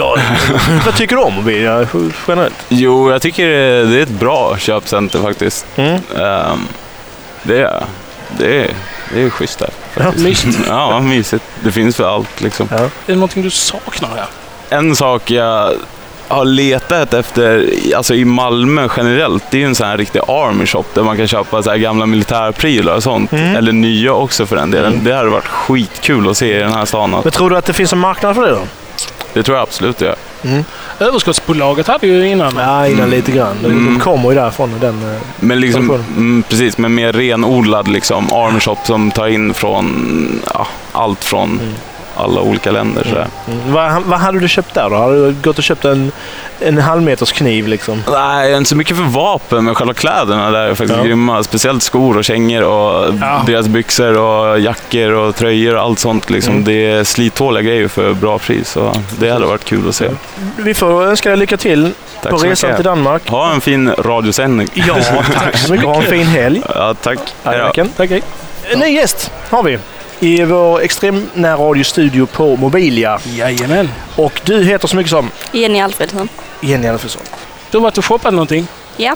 A: Vad tycker du om Mobilia generellt?
H: Jo, jag tycker det- det är ett bra köpcenter faktiskt.
A: Mm.
H: Ehm, det, är, det, är, det är schysst där.
B: Mysigt.
H: Ja, mysigt. Det finns för allt liksom.
B: Är det någonting du saknar här?
H: En sak jag har letat efter alltså i Malmö generellt, det är ju en sån här riktig army shop där man kan köpa så här gamla militärprylar och sånt.
A: Mm.
H: Eller nya också för den delen. Det hade varit skitkul att se i den här stan.
A: Men tror du att det finns en marknad för det då?
H: Det tror jag absolut det gör.
B: Mm. Överskottsbolaget hade ju innan.
A: Ja,
H: Mm.
A: innan lite grann. De- De kommer ju därifrån. Den, eh,
H: Men liksom,
A: Tradition.
H: mm, precis, men mer renodlad liksom armshop som tar in från ja, allt från
A: Mm.
H: alla olika länder. sådär.
A: vad, vad hade du köpt där då? Hade du gått och köpt en, en halvmeters kniv liksom?
H: Nej, jag är inte så mycket för vapen, men själva kläderna där är faktiskt
A: Ja.
H: grymma. Speciellt skor och kängor och
B: Ja.
H: deras byxor och jackor och tröjor och allt sånt. Liksom.
A: Mm.
H: Det är slittåliga grejer för bra pris. Så det hade varit kul att se.
A: Mm. Vi får önska dig lycka till
H: Tack
A: på
H: så
A: resan
H: mycket.
A: till Danmark.
H: Ha en fin radiosändning.
A: Ja, tack så mycket. Ha en fin helg.
H: Ja, tack. Hej då.
A: Tack, tack. En Eh, ny gäst har vi i vår extremnärradiostudio på Mobilia.
B: Jajamän.
A: Och du heter så mycket som
I: Jenny Alfredsson.
A: Jenny Alfredsson.
B: Du har varit och shoppat någonting?
I: Ja.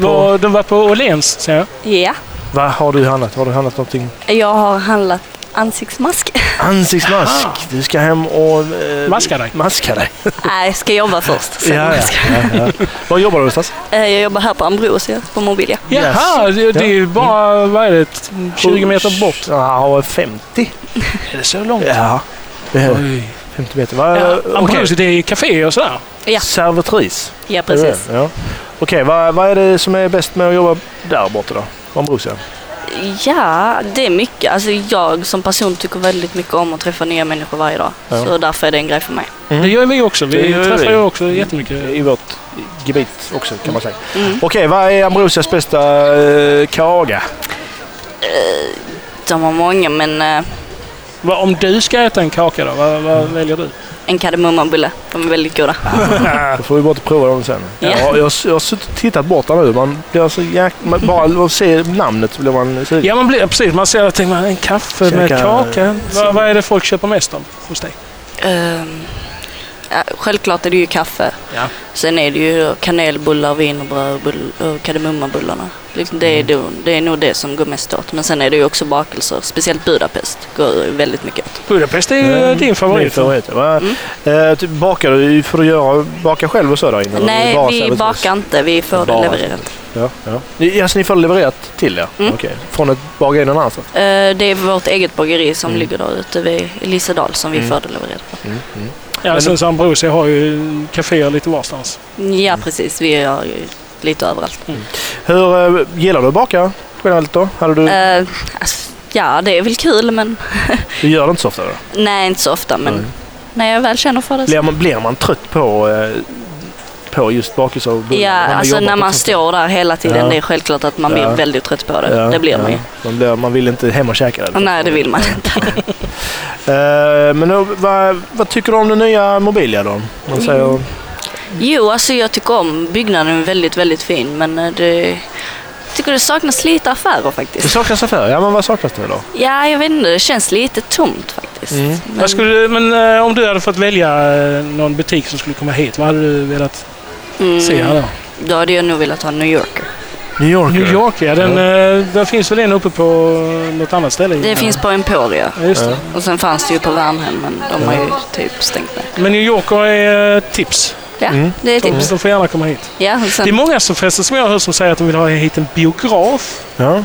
B: Var, du var på Åhléns, säger jag.
I: Ja.
A: Vad har du handlat? Har du handlat någonting?
I: Jag har handlat ansiktsmask.
A: Ansiktsmask. Ah. Du ska hem och... eh,
B: Maska dig.
A: Maska dig.
I: Nej, jag ska jobba först. Sen
A: Ja, ja,
I: ska-
A: ja, ja. Var jobbar du någonstans?
I: Eh, Jag jobbar här på Ambrosia på Mobilia.
B: Jaha, det, det är ju bara, vad är det, 20 meter bort?
A: Ja, 50.
B: Är det så långt?
A: Ja. Eh, 50 meter. Va?
B: Ja,
A: Okej.
B: Ambrosia, det är café och sådär.
I: Ja,
A: Servitris.
I: ja precis.
A: Ja. Okej, vad, vad är det som är bäst med att jobba där borta då? Ambrosia?
I: Ja, det är mycket. Alltså jag som person tycker väldigt mycket om att träffa nya människor varje dag.
A: Ja.
I: Så därför är det en grej för mig.
B: Det gör vi också.
A: Det
B: Vi
A: gör
B: träffar
A: vi.
B: ju också jättemycket.
A: I vårt gebit också kan man säga.
I: Mm.
A: Okej, vad är Ambrosias bästa eh, kaga?
I: Eh. De har många, men eh,
B: Vad- Om du ska äta en kaka då, vad, vad väljer du?
I: en kardemummabulle. De är väldigt goda.
A: Då får vi bara prova dem sen.
I: Ja.
A: Ja, jag, har- jag har suttit och tittat bort där nu. Man blir så jäk... man, bara av att se namnet så blir man sugen.
B: Ja, man blir, precis. Man ser att tänker man, en kaffe med
A: Käka-
B: kaka. Vad, vad är det folk köper mest av hos dig?
I: Ehm, ja, självklart är det ju kaffe.
B: Ja.
I: Sen är det ju kanelbullar, wienerbröd och bull- och kardemummabullarna. Liksom det, är
A: Mm.
I: då, det är nog det som går mest åt. Men sen är det ju också bakelser. Speciellt Budapest går väldigt mycket åt.
B: Budapest är ju eh, din
A: Mm. Min
B: favorit.
A: favorit. Va?
I: Mm.
A: Eh, typ, bakar du? Får du göra, baka själv och så där inne?
I: Nej,
A: Bara
I: vi
A: servitris?
I: bakar inte. Vi får
A: Bara.
I: det levererat.
A: Ja, ja. Ni, alltså, ni får levererat till er?
I: Mm.
A: Okej. Från ett bageri någon annanstans?
I: Eh, det är vårt eget bageri som
A: Mm.
I: ligger där ute vid Lisedal som vi får det levererat.
B: Ja, sen så Ambrosia har ju kaféer lite varstans.
A: Mm.
B: Mm.
I: Ja, precis. Vi gör ju lite överallt.
A: Hur eh, gillar du att baka generellt då? Hade du,
I: Eh, alltså, ja, det är väl kul, men
A: du gör det inte så ofta då?
I: nej, inte så ofta. Men
A: Nej.
I: när jag väl känner för det så
A: Blir man, blir man trött på, eh, på just bakelser och bullar?
I: Ja,
A: har
I: alltså
A: jobbat
I: när
A: på
I: man
A: ett sånt-
I: står där hela tiden,
A: Ja.
I: det är självklart att man blir
A: Ja.
I: väldigt trött på det.
A: Ja,
I: det blir man ju.
A: ja. man blir Man vill inte hem och käka det.
I: Nej, det vill man inte.
A: Eh, men då, vad, vad tycker du om den nya Mobilia då? Man säger,
I: Jo, alltså jag tycker om byggnaden, är väldigt, väldigt fin, men eh, det... Jag tycker det saknas lite affärer
A: det
I: faktiskt.
A: saknas affärer. Ja, men vad saknas det då?
I: Ja, jag vet inte, det känns lite tomt faktiskt.
A: Mm.
I: Men,
B: Vad skulle, men eh, om du hade fått välja eh, någon butik som skulle komma hit, vad hade du velat
I: mm,
B: se här då?
I: Då hade jag nog velat ha New Yorker.
A: New Yorker.
B: New York, ja. Den, eh, där finns väl en uppe på något annat ställe?
I: Det
B: Ja.
I: finns på Emporia
B: Ja, just det.
I: och sen fanns det ju på Värnhem, men de har ju typ stängt ner.
B: Men New York är eh, tips.
I: Ja,
A: Mm.
I: det är typ-
B: De,
I: tips.
B: de får gärna komma hit.
I: Ja, och
B: Det är
I: sen,
B: många som, förresten, som jag har hört som säger att de vill ha hit en biograf.
A: Ja,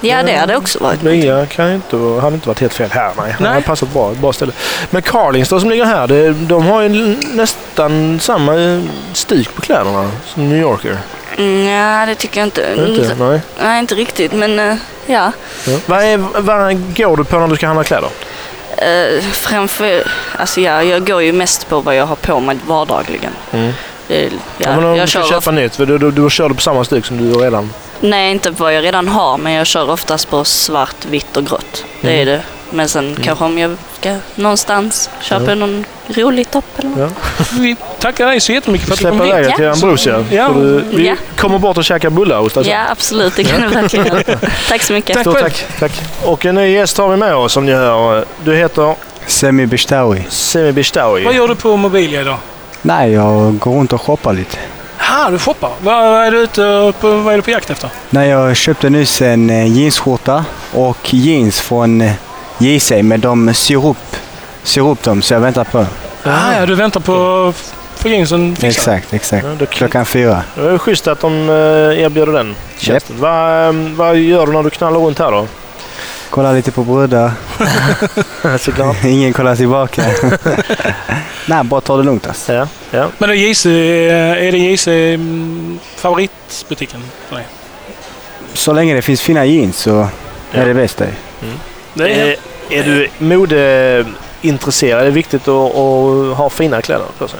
I: ja, det hade också varit.
A: nya kan ju inte, hade inte varit helt fel här. Nej, det
B: Nej.
A: hade passat bra. ett Bra ställe. Men Carlingstad som ligger här, det, de har ju nästan samma eh, stuk på kläderna som New Yorker.
I: Mm, ja, det tycker jag inte.
A: Inte? Nej.
I: Nej, inte riktigt, men eh, ja.
A: Ja. Vad, är, vad går du på när du ska handla kläder?
I: Eh, framför, alltså jag, jag går ju mest på vad jag har på mig vardagligen.
A: Mm.
I: Det, ja,
A: Ja, men om du
I: jag
A: ska
I: kör
A: köpa
I: of,
A: nytt, för du, du, du kör du på samma stuk som du redan...
I: nej, inte vad jag redan har, men jag kör oftast på svart, vitt och grått. Det
A: Mm.
I: är det. Men sen kanske om jag ska någonstans köpa någon rolig topp eller något.
A: Ja.
B: Vi tackar dig så jättemycket för att du
A: Släppa
B: kom
A: iväg
B: hit.
A: dig till
I: Ja.
A: Ambrosia.
B: Ja.
A: Får Du, vi
I: Ja.
A: kommer bort och käkar alltså. bullar hos dig sen.
I: Ja, absolut. Det kan du verkligen. Tack så mycket.
B: Tack.
A: Stort tack. tack. Och en ny gäst har vi med oss som ni hör. Du heter
J: Semi Bishtawi.
A: Semi
B: Vad
A: Bishtawi.
B: gör du på Mobilia idag?
J: Nej, jag går runt och shoppar lite.
B: Ha, du shoppar. Vad, vad är du ute på, vad är du på jakt efter?
J: Nej, jag köpte nyss en eh, jeansskjorta och jeans från eh, JC, men de syr upp, syr upp dem så jag väntar på dem.
B: Ah, ja, du väntar på att få jeansen fixad.
J: Exakt, exakt.
A: Ja, då kli-
J: Klockan fyra.
A: Det är schysst att de eh, erbjuder den tjänsten. Vad, ehm, vad gör du när du knallar runt här då?
J: Kollar lite på brudar.
A: Såklart.
J: Ingen kollar tillbaka. Nej, bara ta det lugnt alltså.
A: Ja, ja.
B: Men då JC, eh, är det JC mm, favoritbutiken för dig?
J: Så länge det finns fina jeans så
A: Ja.
J: är det bästa ju.
B: Det är,
A: Är, Eh, är du modeintresserad? Är det viktigt att, att ha fina kläder på sig?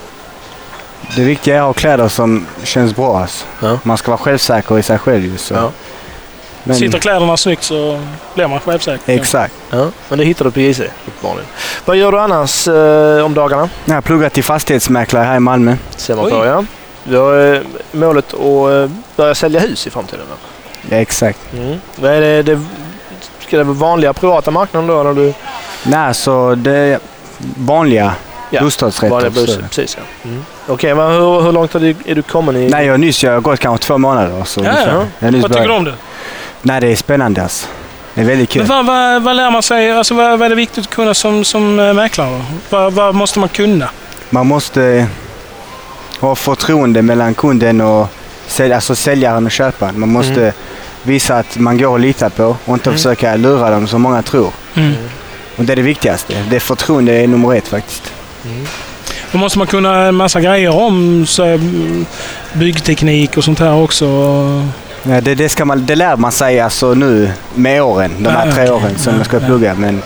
J: Det viktiga är att ha kläder som känns bra alltså.
A: Ja.
J: Man ska vara självsäker i sig själv ju. Så.
A: Ja.
J: Men,
B: Sitter kläderna snyggt så blir man självsäker.
J: Exakt.
A: Ja, men det hittar du på JC uppenbarligen. Vad gör du annars eh, om dagarna?
J: Jag har pluggat till fastighetsmäklare här i Malmö.
A: Ser man
B: Oj.
A: på ja. Du har eh, målet att eh, börja sälja hus i framtiden? va?
J: Ja, exakt.
A: Mm. Vad är det, det, ska det vara vanliga privata marknaden då? När du,
J: Nej, så det är vanliga
A: Ja, vanliga
J: bostadsrätter.
A: bus,
J: så.
A: precis, ja. mm. Okej, men hur, hur långt är du, är du kommen i...
J: Nej, jag har nyss, jag har gått kanske två månader. Så
B: Ja,
J: ungefär.
B: ja.
J: Jag har nyss
B: Vad tycker du
J: börjat.
B: om det?
J: Nej, det är spännande alltså. Det är väldigt
B: Men
J: kul.
B: vad, vad, vad lär man sig? Alltså, vad, vad är det viktigt att kunna som, som eh, mäklare? då? Vad, vad måste man kunna?
J: Man måste ha förtroende mellan kunden och sälj, alltså säljaren och köparen. Man måste visa att man går att lita på och inte försöka lura dem som många tror.
B: Mm.
J: Och det är det viktigaste. Det förtroende är nummer ett faktiskt.
B: Då måste man kunna en massa grejer om så, mm, byggteknik och sånt här också?
J: Ja, Eh, det, det, ska man, det lär man sig alltså nu med åren, de här
B: Ah,
J: tre
B: okej.
J: åren som
B: Ja,
J: man ska
B: ja.
J: plugga. Men,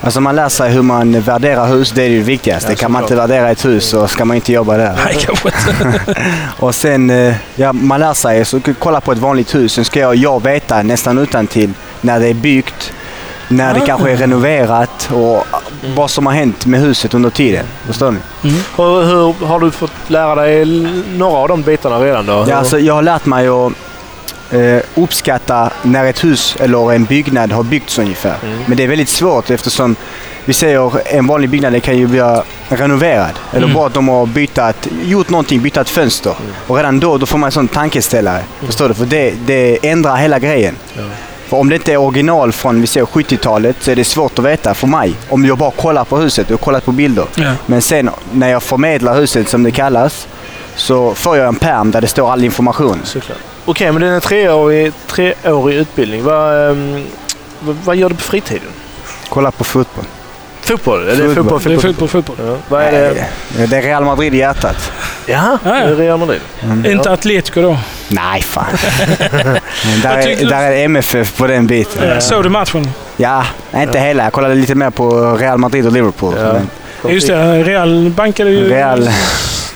J: alltså man lär sig hur man värderar hus, det är ju det viktigaste.
B: Ja,
J: kan man inte
B: såklart.
J: värdera ett hus så ska man inte jobba där.
B: Nej, kanske inte.
J: Och sen, eh, ja, man lär sig, så k- kolla på ett vanligt hus, sen ska jag, jag veta nästan utan till när det är byggt, när det
A: Ah.
J: kanske är renoverat och ah,
B: Mm.
J: vad som har hänt med huset under tiden. Förstår ni?
A: Hur, Mm. hur har du fått lära dig l- några av de bitarna redan då?
J: Ja, alltså, jag har lärt mig att eh, uppskatta när ett hus eller en byggnad har byggts ungefär. Men det är väldigt svårt eftersom vi säger en vanlig byggnad den kan ju bli renoverad. Eller
B: Mm.
J: bara att de har bytat, gjort någonting, bytt ett fönster. Och redan då, då får man en sån tankeställare. Förstår du? För det, det ändrar hela grejen. För om det inte är original från vi säger 70-talet så är det svårt att veta för mig. Om jag bara kollar på huset och kollat på bilder.
B: Ja.
J: Men sen när jag förmedlar huset som det kallas så får jag en pärm där det står all information.
A: Såklart. Okej, men det är en treårig, treårig utbildning. Vad, ehm, vad, vad gör du på fritiden?
J: Kolla på fotboll.
A: Fotboll? Eller fotboll,
J: Fotboll.
B: Det är fotboll,
A: fotboll,
B: fotboll.
A: Ja, vad är det?
J: Nej, Det är Real Madrid i hjärtat. Mm.
A: Jaha, det
B: Ja, ja.
A: är Real Madrid.
B: Inte Atletico då.
J: Nej, fan. Men där,
B: Jag tyckte
J: är,
B: du-
J: där är MFF på den biten.
B: Såg du matchen?
J: Ja, inte hela. Jag kollade lite mer på Real Madrid och Liverpool.
A: Ja.
J: Men
B: Ja, Just det, eh, Real bankade ju
J: Real,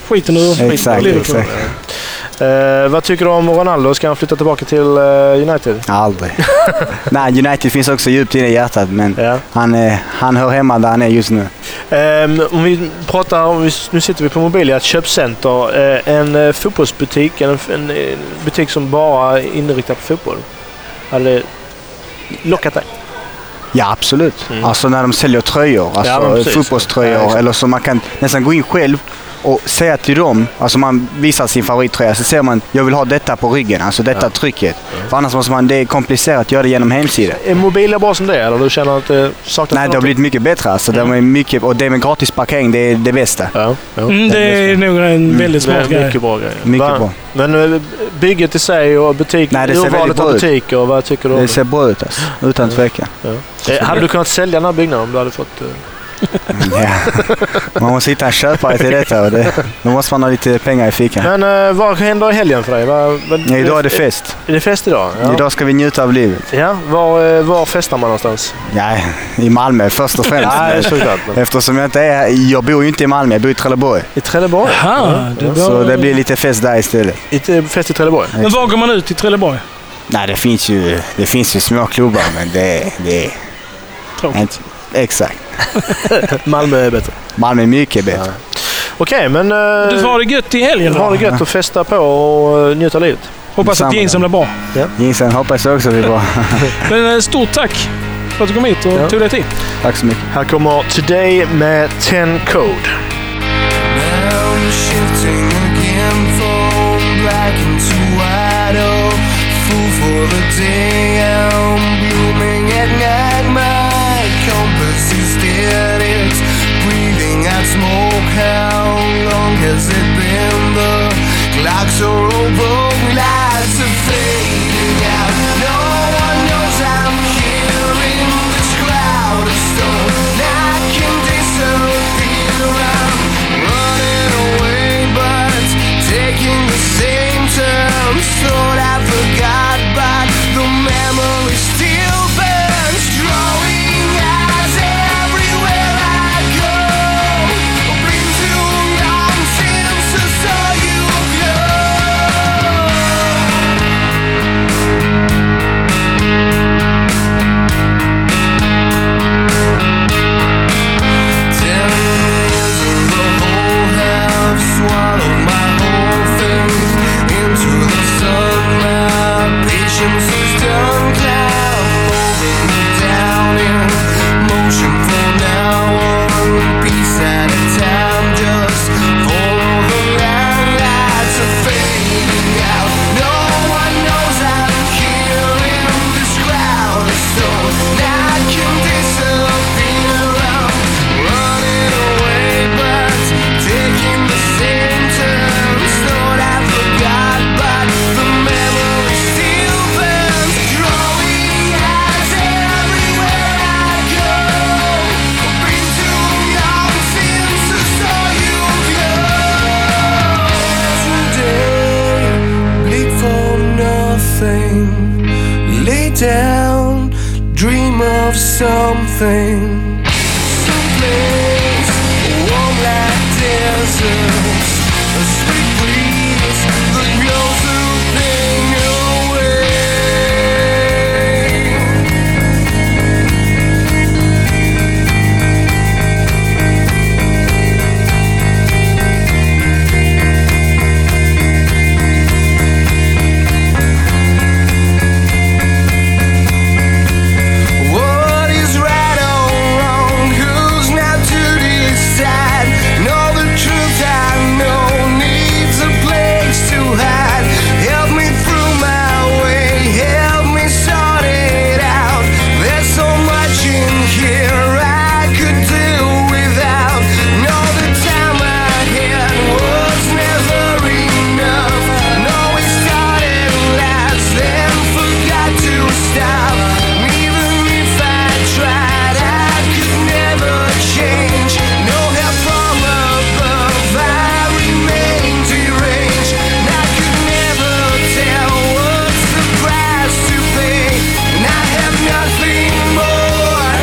B: skiten ur
J: exakt,
B: Liverpool.
J: exakt.
A: Eh, vad tycker du om Ronaldo? Ska han flytta tillbaka till eh, United?
J: Aldrig. Nej, United finns också djupt inne i hjärtat, men
A: Ja.
J: han, är, han hör hemma där han är just nu.
A: Ehm, om vi pratar om, vi- nu sitter vi på Mobilia, ett köpcenter. Eh, en eh, fotbollsbutik, en, en eh, butik som bara är inriktad på fotboll. Hade det lockat dig?
J: Ja, absolut.
A: Mm.
J: Alltså när de säljer tröjor, alltså
A: Ja, men precis.
J: fotbollströjor.
A: Ja, exakt.
J: eller så man kan nästan gå in själv och säga till dem, alltså man visar sin favorittröja, så ser man jag vill ha detta på ryggen, alltså detta trycket. För annars måste man, det är komplicerat att göra det genom hemsidan.
A: Är Mobilia bra som det är, eller du känner att det saknas
J: Nej, det har
A: någonting?
J: blivit mycket bättre alltså. De är mycket, och det med gratis parkering, det är det bästa.
A: Ja, ja.
B: Mm, det är nog en väldigt smart
A: Det är
B: grej.
A: mycket bra grejer.
J: Mm, Mycket
A: Va?
J: bra.
A: Men eh, bygget i sig och butik,
J: Nej, det ser väldigt
A: urvalet
J: bra
A: av
J: ut.
A: butiker, vad tycker du om
J: Det ser bra ut alltså, utan tvekan.
A: det? Eh, Hade du kunnat sälja den här byggnaden om du hade fått... eh,
J: Ja. Man måste hitta en köpare till detta och det, då måste man ha lite pengar i fickan.
A: Men eh, vad händer i helgen för dig? Vad- vad- eh,
J: Ja, idag är det fest.
A: Är det fest idag? Ja.
J: Idag ska vi njuta av livet.
A: Ja, var, eh, var festar man någonstans?
J: Ja, i Malmö först och främst.
A: Nej, såklart.
J: Eftersom jag inte är Jag bor ju inte i Malmö, jag bor i Trelleborg.
A: I Trelleborg?
B: Aha, det
J: Så
B: var...
J: det blir lite fest där istället.
A: Inte fest i Trelleborg?
B: Men var går man ut i Trelleborg?
J: Nej, det finns ju, det finns ju små klubbar, men det, det är...
B: Tråkigt.
J: Inte, exakt.
A: Malmö är bättre.
J: Malmö är mycket bättre.
A: Okej, men... eh,
B: Du får ha det gött i helgen
A: ha
B: då.
A: det gött och festa på och eh, njuta av livet.
B: Hoppas att
J: Detsamma.
B: jeansen blir bra.
J: Jinsen hoppas jag också blir bra.
B: Men eh, stort tack för att du kom hit och
A: Ja.
B: tog dig tid.
J: Tack så mycket.
A: Här kommer Today med 10 Code.
E: Now you're shifting again from black into white. Oh, fool for the day. I'm blooming at night. My compass is dead. It's breathing out smoke. How long has it been? The clocks are over. Lights are fading out. No one knows I'm here in this cloud of stone. I can disappear. I'm running away, but it's taking the same turn. Thought I forgot, but the man. nothing. Lay down, dream of something. Someplace warm like deserts. A sweet breeze that blows the pain away. What is right or wrong? Who's now to decide? Know the truth I know needs a place to hide. Help me through my way, help me sort it out. There's so much in here I could do without. Know the time I had was never enough. Know we started last, then forgot to stop. Even if I tried, I could never change. No help from above, I remain deranged. And I could never tell what's the price to pay. And I have nothing more,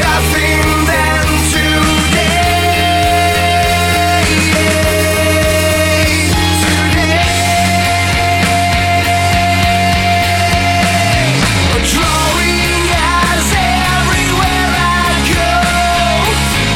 E: nothing than today. Drawing eyes everywhere I go.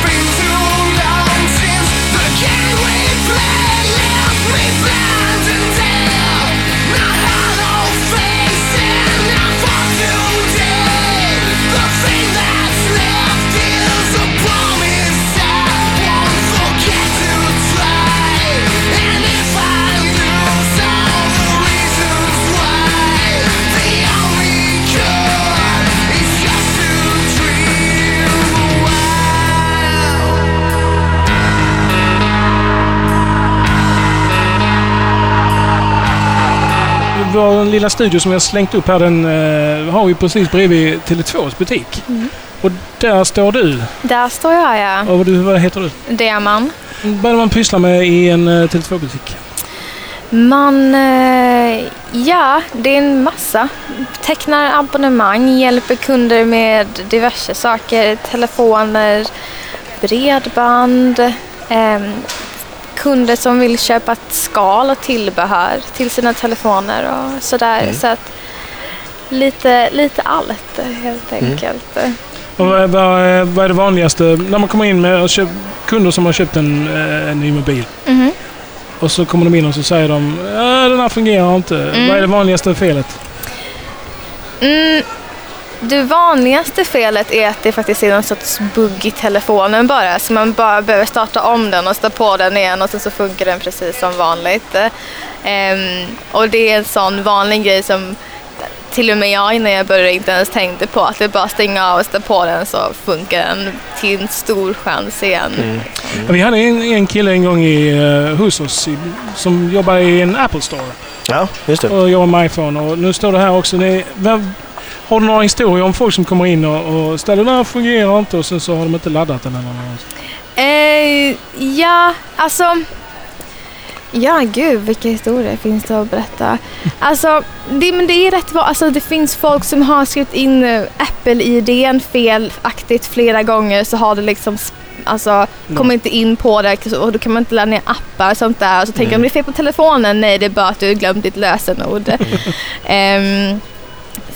E: Been too long since the game we played left me blind and deaf. My hollow face and I fall today. The thing that's left is a promise I won't forget to try. And if I lose all the reasons why, the only cure is just to dream a while.
B: Vår lilla studio som jag har slängt upp här, den eh, har vi precis bredvid Tele2s butik.
K: Mm.
B: Och där står du.
K: Där står jag ja.
B: Och vad, du, vad heter du?
K: Deman.
B: Vad är det man pysslar med i en eh, Tele2-butik?
K: Man, eh, ja, det är en massa. Tecknar abonnemang, hjälper kunder med diverse saker. Telefoner, bredband, ehm, kunder som vill köpa ett skal och tillbehör till sina telefoner och sådär.
B: Mm.
K: Så att lite, lite allt helt
B: Mm.
K: enkelt.
B: Och vad, vad, eh, vad är det vanligaste när man kommer in med och köp, kunder som har köpt en, eh, en ny mobil?
K: Mhm.
B: Och så kommer de in och så säger de "Ja, den här fungerar inte.
K: Mm.
B: Vad är det vanligaste felet?
K: Mm, det vanligaste felet är att det faktiskt är någon sorts bugg i telefonen bara. Så man bara behöver starta om den och sätta på den igen och sen så funkar den precis som vanligt. Ehm, och det är en sån vanlig grej som till och med jag innan jag började inte ens tänkte på. Att det är bara att stänga av och sätta på den så funkar den till en stor chans igen.
B: Mm. Vi hade en, en kille en gång i, eh, hos oss i, som jobbar i en Apple Store.
A: Ja, just det.
B: Och jobbar med iPhone. Och nu står det här också. Det, är- vad, har du några historier om folk som kommer in och, och ställer den här fungerar inte och sen så har de inte laddat den eller något?
K: Eh, ja, alltså... Ja, gud vilka historier finns det att berätta. Alltså, det, men det är rätt va- alltså, Det finns folk som har skrivit in eh, Apple-idén felaktigt flera gånger så har det liksom sp- Alltså, kommer inte in på det och då kan man inte ladda ner appar och sånt där. Och så tänker de,
C: Mm.
K: det är fel på telefonen. Nej, det är bara att du har glömt ditt lösenord. Ehm,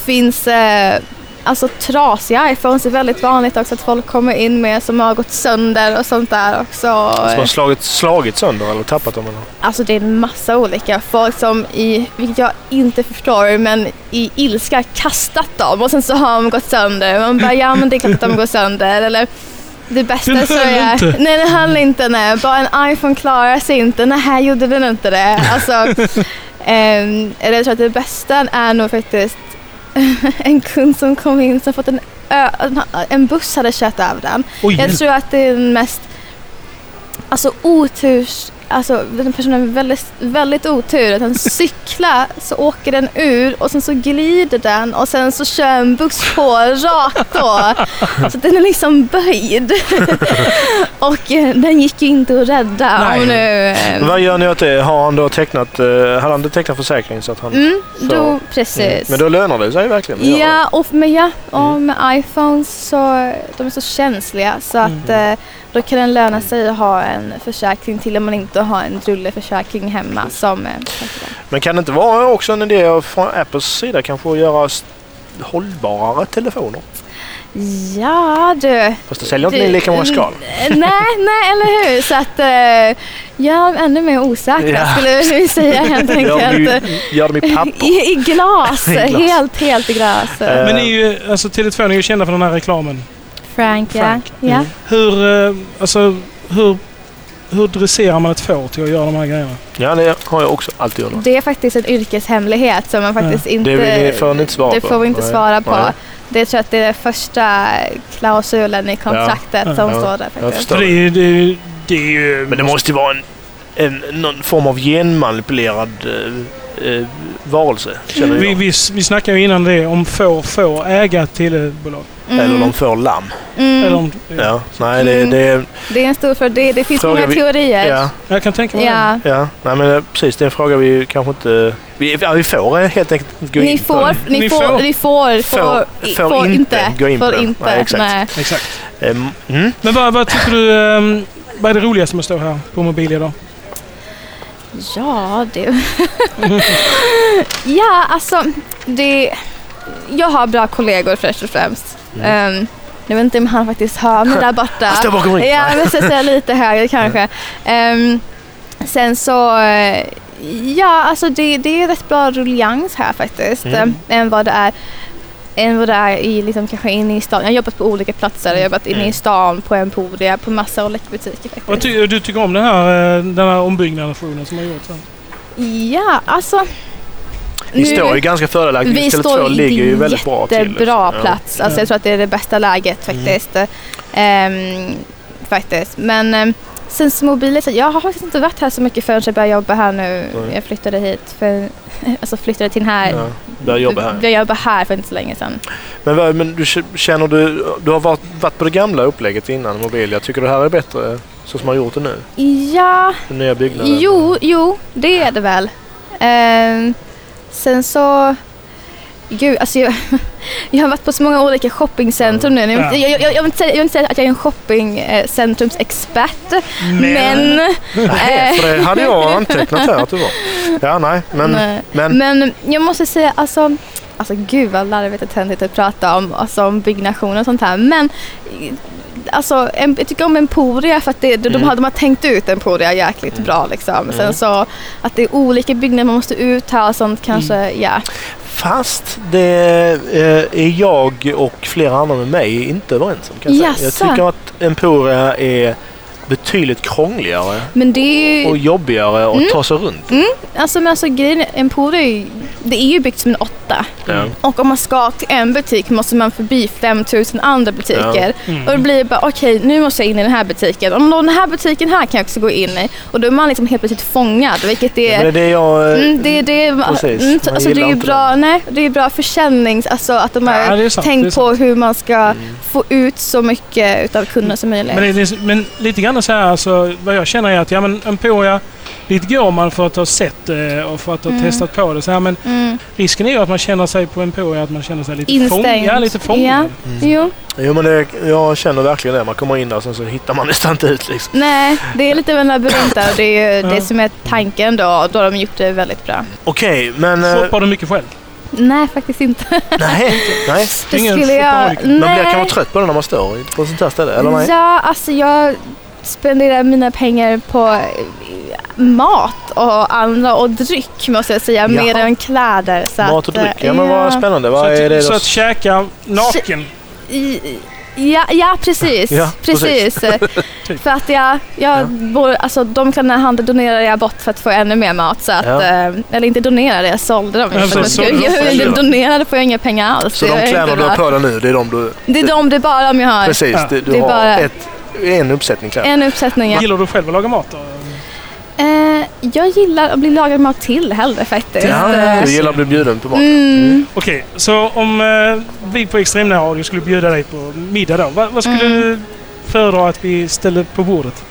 K: finns eh, alltså trasiga iPhones är väldigt vanligt också att folk kommer in med som har gått sönder och sånt där också.
A: Som har slagit, slagit sönder eller tappat dem? Eller?
K: Alltså det är en massa olika folk som i, vilket jag inte förstår, men i ilska kastat dem och sen så har de gått sönder. Man bara, ja men det är klart att de går sönder. Eller det bästa
C: Den
K: så
C: höll
K: är...
C: inte.
K: Nej, den höll inte. Nej. Bara en iPhone klarar sig inte. Nej, här gjorde den inte det. Alltså, Ehm, eller jag tror att det bästa är nog faktiskt en kund som kom in som fått en, ö- en buss hade kört över den.
C: Oj,
K: jag
C: hjälp.
K: tror att det är den mest alltså, oturs... alltså den personen har väldigt, väldigt otur. Att den cyklar så åker den ur och sen så glider den och sen så kör en buss på rakt på. Så den är liksom böjd. och eh, den gick ju inte att rädda. Om nu, eh,
A: Vad gör ni åt det? Har han då tecknat, eh, hade han inte tecknat försäkring så att han...
K: mm, då,
A: så-
K: precis.
A: Men Mm. då lönar det sig verkligen. att göra
K: Ja, och med, ja, och med iPhones så de är så känsliga så att
A: Mm.
K: eh, då kan det löna sig att ha en försäkring till om man inte har en drulleförsäkring hemma. Som, eh,
A: Men kan det inte vara också en idé från Apples sida kanske att göra s- hållbarare telefoner?
K: ja du.
A: Mm. Fast det säljer inte ni lika många skal.
K: Nej, nej, eller hur? Så att eh, jag är ännu mer osäker
A: Ja.
K: skulle jag nu säga helt
A: Gör dem
K: enkelt.
A: i- Gör dem i papper. Eh,
K: I, I glas,
B: I glas.
K: helt, helt i glas.
B: Men ni är ju, alltså, telefonen är ju kända för den här reklamen.
K: Frank, ja.
B: Frank.
K: ja.
A: Mm.
B: Hur, eh, alltså, hur, hur dresserar man ett får till att göra de här grejerna?
A: Ja, det har jag också alltid gjort.
K: Det är faktiskt en yrkeshemlighet som man faktiskt inte...
A: Det vill ni- får ni inte svara
K: det
A: på.
K: får vi inte
A: Nej.
K: svara på.
A: Nej.
K: Det tror jag att det är den första klausulen i kontraktet som står där faktiskt.
A: det, det, det är ju... Men det måste ju vara en, en, någon form av genmanipulerad eh, eh, varelse, känner
B: Vi,
A: jag.
B: vi, vi snackade ju innan det om får får äga ett telebolag.
K: Mm.
A: Eller de får lamm.
K: Mm.
B: Eller om,
A: Ja, nej, det, det är...
K: Det är en stor fråga. Det, det finns
A: Frågar
K: många
A: vi-
K: teorier.
A: Ja.
B: Jag kan tänka
K: Ja.
A: Ja, nej men eh, precis. Det är en fråga vi ju kanske inte... Vi, ja, vi får eh, helt enkelt inte gå
K: Ni
A: in på.
K: får, ni, får, ni får, får, i-
A: får
K: får inte.
A: gå in på
K: får
A: den.
K: inte.
A: Nej, exakt.
K: Nej.
B: Exakt.
A: Ehm, mm.
B: Men vad, vad tycker du, ehm, vad är det roligaste med att stå här på Mobilia då?
K: Ja, du. ja, alltså det... Jag har bra kollegor först och främst. Ehm, jag vet inte om han faktiskt hör mig där borta.
L: Mm. Han står bakom ryggen.
K: Ja, men så att säga lite högre kanske. Ehm, sen så... eh, Ja, alltså det, det är rätt bra ruljangs här faktiskt.
L: Mm.
K: ehm, Än vad det är än vad det är i, liksom, kanske inne i stan. Jag har jobbat på olika platser. Jag har jobbat inne
L: Mm.
K: i stan, på Emporia, på massa olika butiker faktiskt.
B: Vad ty, du tycker om den här, eh, den här ombyggnationen som har gjorts? här?
K: Ja, alltså...
A: Ni
K: nu-
A: står ju ganska fördelaktigt.
K: Vi
A: Tele2
K: står
A: ligger ju väldigt bra till.
K: jättebra
A: liksom.
K: plats.
A: Ja.
K: Alltså, jag tror att det är det bästa läget faktiskt. Ehm, faktiskt. Men ehm, sen så mobilen, så jag har faktiskt inte varit här så mycket förrän jag började jobba här nu.
A: Nej.
K: Jag flyttade hit, för, alltså flyttade till den här.
A: Ja, började jobba här.
K: Jag jobbar här för inte så länge sedan.
A: Men, vad- men du k- känner du... Du har varit, varit på det gamla upplägget innan, Mobilia. Tycker du det här är bättre så som man har gjort det nu?
K: Ja,
A: Den nya byggnaden?
K: Jo, jo, det är det väl. Ehm, sen så... Gud, alltså jag, jag har varit på så många olika shoppingcentrum nu. Jag, vill inte- jag, jag, jag, vill inte säga, jag vill inte säga att jag är en shoppingcentrumsexpert, men...
A: Nej, för det
K: eh,
A: hade jag antecknat här att du var. Ja, nej. Men...
K: Nej.
A: men,
K: Men jag måste säga, alltså, alltså gud vad larvigt och töntigt att prata om, alltså, om byggnation och sånt här. Men eh, alltså, en, jag tycker om Emporia för att det, de,
L: Mm.
K: har, de har tänkt ut Emporia jäkligt bra. Liksom. Sen
A: Mm.
K: så att det är olika byggnader man måste ut här och sånt kanske,
A: Mm.
K: ja.
A: Fast det eh, är jag och flera andra med mig inte överens om. Kan jag, säga. jag
K: Jaså?
A: tycker att Emporia är betydligt krångligare
K: Men det är
A: och
K: ju...
A: jobbigare att
K: Mm.
A: ta sig runt.
K: Mm, alltså, men alltså grejen är, Emporia är ju, det är ju byggt som en åtta.
A: Ja.
K: Och om man ska till en butik måste man förbi 5000 andra butiker.
L: Ja. Mm.
K: Och det blir bara okej, nu måste jag in i den här butiken. Om den här butiken här kan jag också gå in i. Och då är man liksom helt plötsligt fångad. Vilket det
A: Ja, men
K: är...
A: det är det jag... eh,
K: Mm, det, det, mm,
A: Precis,
K: t-
A: man
K: alltså det
A: gillar
K: är ju
A: inte
K: bra, nej, det är bra försäljnings, alltså att de har
B: Ja, det är sant, det är
K: tänkt på hur man ska få ut så mycket utav kunden som möjligt.
B: Men, det, det- men lite grann så här, alltså, vad jag känner är att ja, men Emporia, dit går man för att ha sett det och för att ha
K: Mm.
B: testat på det. Så här, men
K: Mm.
B: risken är ju att man känner sig på Emporia, att man känner sig lite
K: Instängd.
B: fångad. Ja, lite fångad.
K: Ja. Jo.
A: Jo, men det, jag känner verkligen det. Man kommer in där och sen så hittar man nästan inte ut. Liksom.
K: Nej, det är lite av en labyrint där och det är ju
A: Ja.
K: det som är tanken då. och Då har de gjort det väldigt bra.
A: Okej, men... eh,
B: Shoppar du mycket själv?
K: Nej, faktiskt inte.
A: Nej, nej.
K: Det Ingen skulle jag- shopaholic.
A: Man blir
K: nej.
A: kanske trött på det när man står i- på ett sånt här ställe, eller nej?
K: Ja, alltså jag spenderar mina pengar på eh, mat och andra och dryck måste jag säga, mer än kläder. Så
A: Mat och
K: att, eh,
A: dryck, ja men vad spännande. Vad
B: så att,
A: är det
B: så
A: då?
B: att käka naken.
K: I- Ja, ja, precis.
A: Ja, precis.
K: precis. för att jag, jag Bor, alltså, de kläderna jag hade donerade jag bort för att få ännu mer mat. Så att,
A: Ja.
K: eh, Eller inte donerade, jag sålde dem.
A: Ja,
K: för att
A: precis.
K: jag,
A: Sålde dem,
K: jag,
A: sålde dem.
K: donerade får jag inga pengar alls.
A: Så
K: Jag är
A: de
K: inte
A: kläder du
K: där.
A: har på dig nu, det är de du...
K: Det är de, det är bara de jag har.
A: Precis,
K: Ja.
A: du, du
K: det är
A: har
K: bara
A: ett, en uppsättning kläder.
K: en uppsättning. ja.
B: Gillar du själv att laga mat då?
M: Eh, jag gillar att bli lagad mat till hellre faktiskt.
A: Ja, du gillar att bli bjuden på mat.
M: Mm.
B: Okej, så om eh, vi på Extremnärradio skulle bjuda dig på middag då. Vad, vad
M: Mm.
B: skulle du föredra att vi ställer på bordet?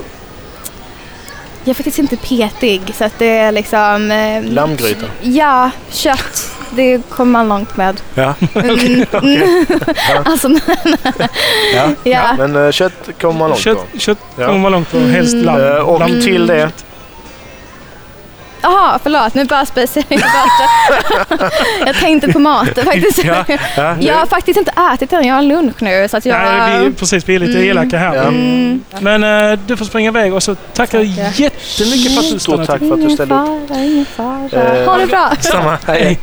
M: Jag är faktiskt inte petig så att det är liksom... Eh,
A: Lammgryta.
M: Ja, kött. Det kommer man långt med.
A: Ja, okej.
M: Mm. alltså,
A: Ja.
M: Ja.
A: Men eh, kött kommer man långt
B: Kött-
A: på.
B: kött kommer man långt på, helst
A: Mm.
B: lamm.
A: Eh, Och
M: Lamm.
A: till det.
M: Jaha, förlåt. Nu bara spiser jag bort. Jag tänkte på maten faktiskt.
B: Ja, ja.
M: Jag har faktiskt inte ätit än. Jag har lunch nu. Så att jag...
B: Nej, vi, precis, vi är lite
M: Mm.
B: elaka här.
M: Mm.
B: Men eh, du får springa iväg och så tackar jag jättemycket för att du
A: Stort
B: stannade
A: tack
B: till.
A: för att du ställde upp.
M: fara, ingen fara.
A: Eh,
M: ha det bra.
A: Samma. Hej.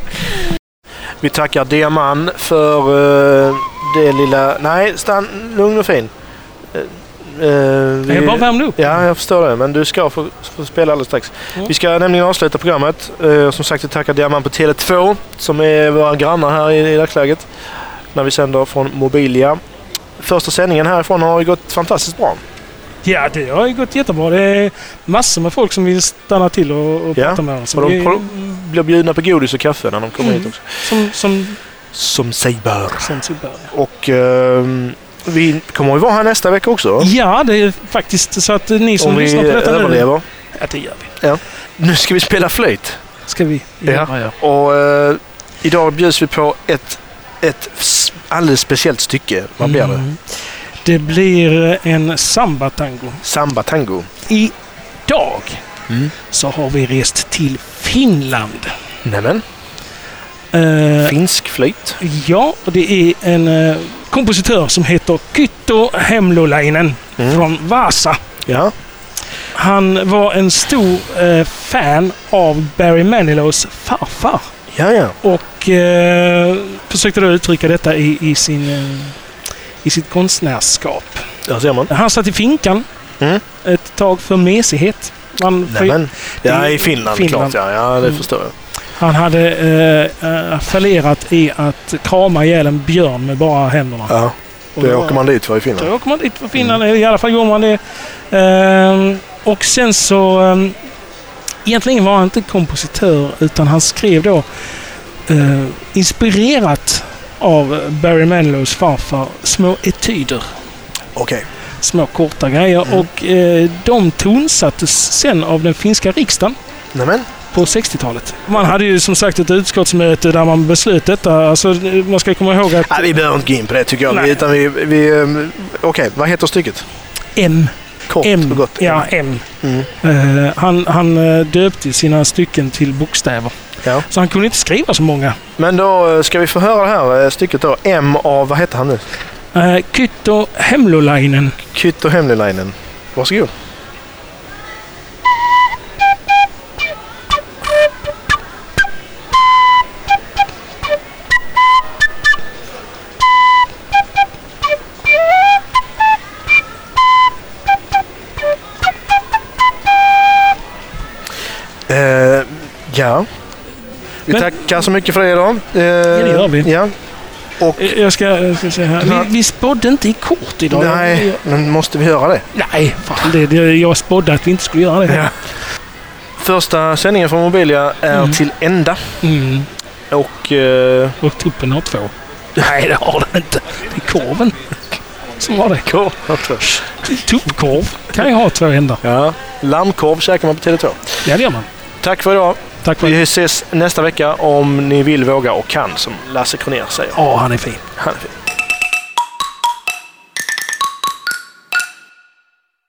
A: Vi tackar Deman för eh, det lilla... Nej, stann lugn och fin. Eh, eh, vi...
B: bara värmde upp. Mm.
A: Ja, jag förstår det. Men du ska få, få spela alldeles strax.
B: Ja.
A: Vi ska nämligen avsluta programmet. Eh, som sagt, vi tackar Deman på Tele2 som är våra grannar här i, i dagsläget. När vi sänder från Mobilia. Första sändningen härifrån har ju gått fantastiskt bra.
B: Ja, det har ju gått jättebra. Det är massor med folk som vill stanna till och, och prata med oss.
A: Och de
B: Vi-
A: pro- blir bjudna på godis och kaffe när de kommer
B: Mm.
A: hit också.
B: Som, som,
A: Som sig bör.
B: som sig bör.
A: Och ehm, vi kommer ju vara här nästa vecka också.
B: Ja, det är faktiskt så att ni som
A: Om vi
B: lyssnar på detta
A: överlever.
B: nu... Ja, det gör vi.
A: Ja. Nu ska vi spela flöjt.
B: Ska vi?
A: Ja. Och eh, idag bjuds vi på ett, ett s- alldeles speciellt stycke. Vad blir det?
B: Mm. Det blir en sambatango.
A: Sambatango. Mm.
B: Idag så har vi rest till Finland.
A: Nämen. Finsk flöjt.
B: Eh, Ja, och det är en eh, kompositör som heter Kytto Hemlolainen från Vasa.
A: Mm. Ja.
B: Han var en stor eh, fan av Barry Manilows farfar.
A: Ja, ja.
B: Och eh, försökte då uttrycka detta i, i, sin, eh, i sitt konstnärskap.
A: Där ser man. Mm.
B: Han satt i finkan ett tag för mesighet. Man får ju-
A: Nämen. Ja, i Finland,
B: Finland.
A: klart. Ja, ja det
B: Mm.
A: förstår jag.
B: Han hade eh, eh, fallerat i att krama ihjäl en björn med bara händerna.
A: Ja.
B: Och
A: Då
B: då-
A: åker man dit för i Finland.
B: Då åker man dit för Finland. I alla fall gjorde man det. Ehm, och sen så... ehm, egentligen var han inte kompositör utan han skrev då eh, inspirerat av Barry Manilows farfar små etyder.
A: Okej. Mm.
B: Små korta grejer. Och eh, de tonsattes sen av den finska riksdagen.
A: Nämen.
B: På 60-talet. Man hade ju som sagt ett utskottsmöte där man beslöt detta. Alltså, man ska komma ihåg att...
A: Ja, vi behöver inte gå in på det tycker jag.
B: Nej.
A: Utan vi, vi, ehm, Okej, vad heter stycket?
B: M.
A: Kort
B: M.
A: och gott. Mm.
B: Ja, M. Eh, han, han eh, döpte sina stycken till bokstäver. Så han kunde inte skriva så många.
A: Men då eh, ska vi få höra det här eh, stycket då. M av, vad heter han nu?
B: Eh, Kytto Hemlolainen.
A: Kytto Hemlolainen. Varsågod. Eh, ja. Vi tackar så mycket för det idag. Eh, ja,
B: det gör vi. Eh,
A: Ja. Och,
B: jag, ska, jag ska säga här. Vi, vi spådde inte i kort idag.
A: Nej, men måste vi göra det?
B: Nej, fan, det, det, jag spådde att vi inte skulle göra det.
A: Första sändningen från Mobilia är till ända.
B: Mm.
A: Och... Eh...
B: Och tuppen har två. Nej, det har den inte. Det är korven som har det.
A: Korv.
B: Tuppkorv kan ju ha två ändar.
A: Ja. Lammkorv käkar man på Tele2.
B: Ja, det gör man.
A: Tack för idag.
B: Tack
A: vi ses nästa vecka om ni vill, våga och kan, som Lasse Kronér säger.
B: Ja, han är fin.
A: Han är fin.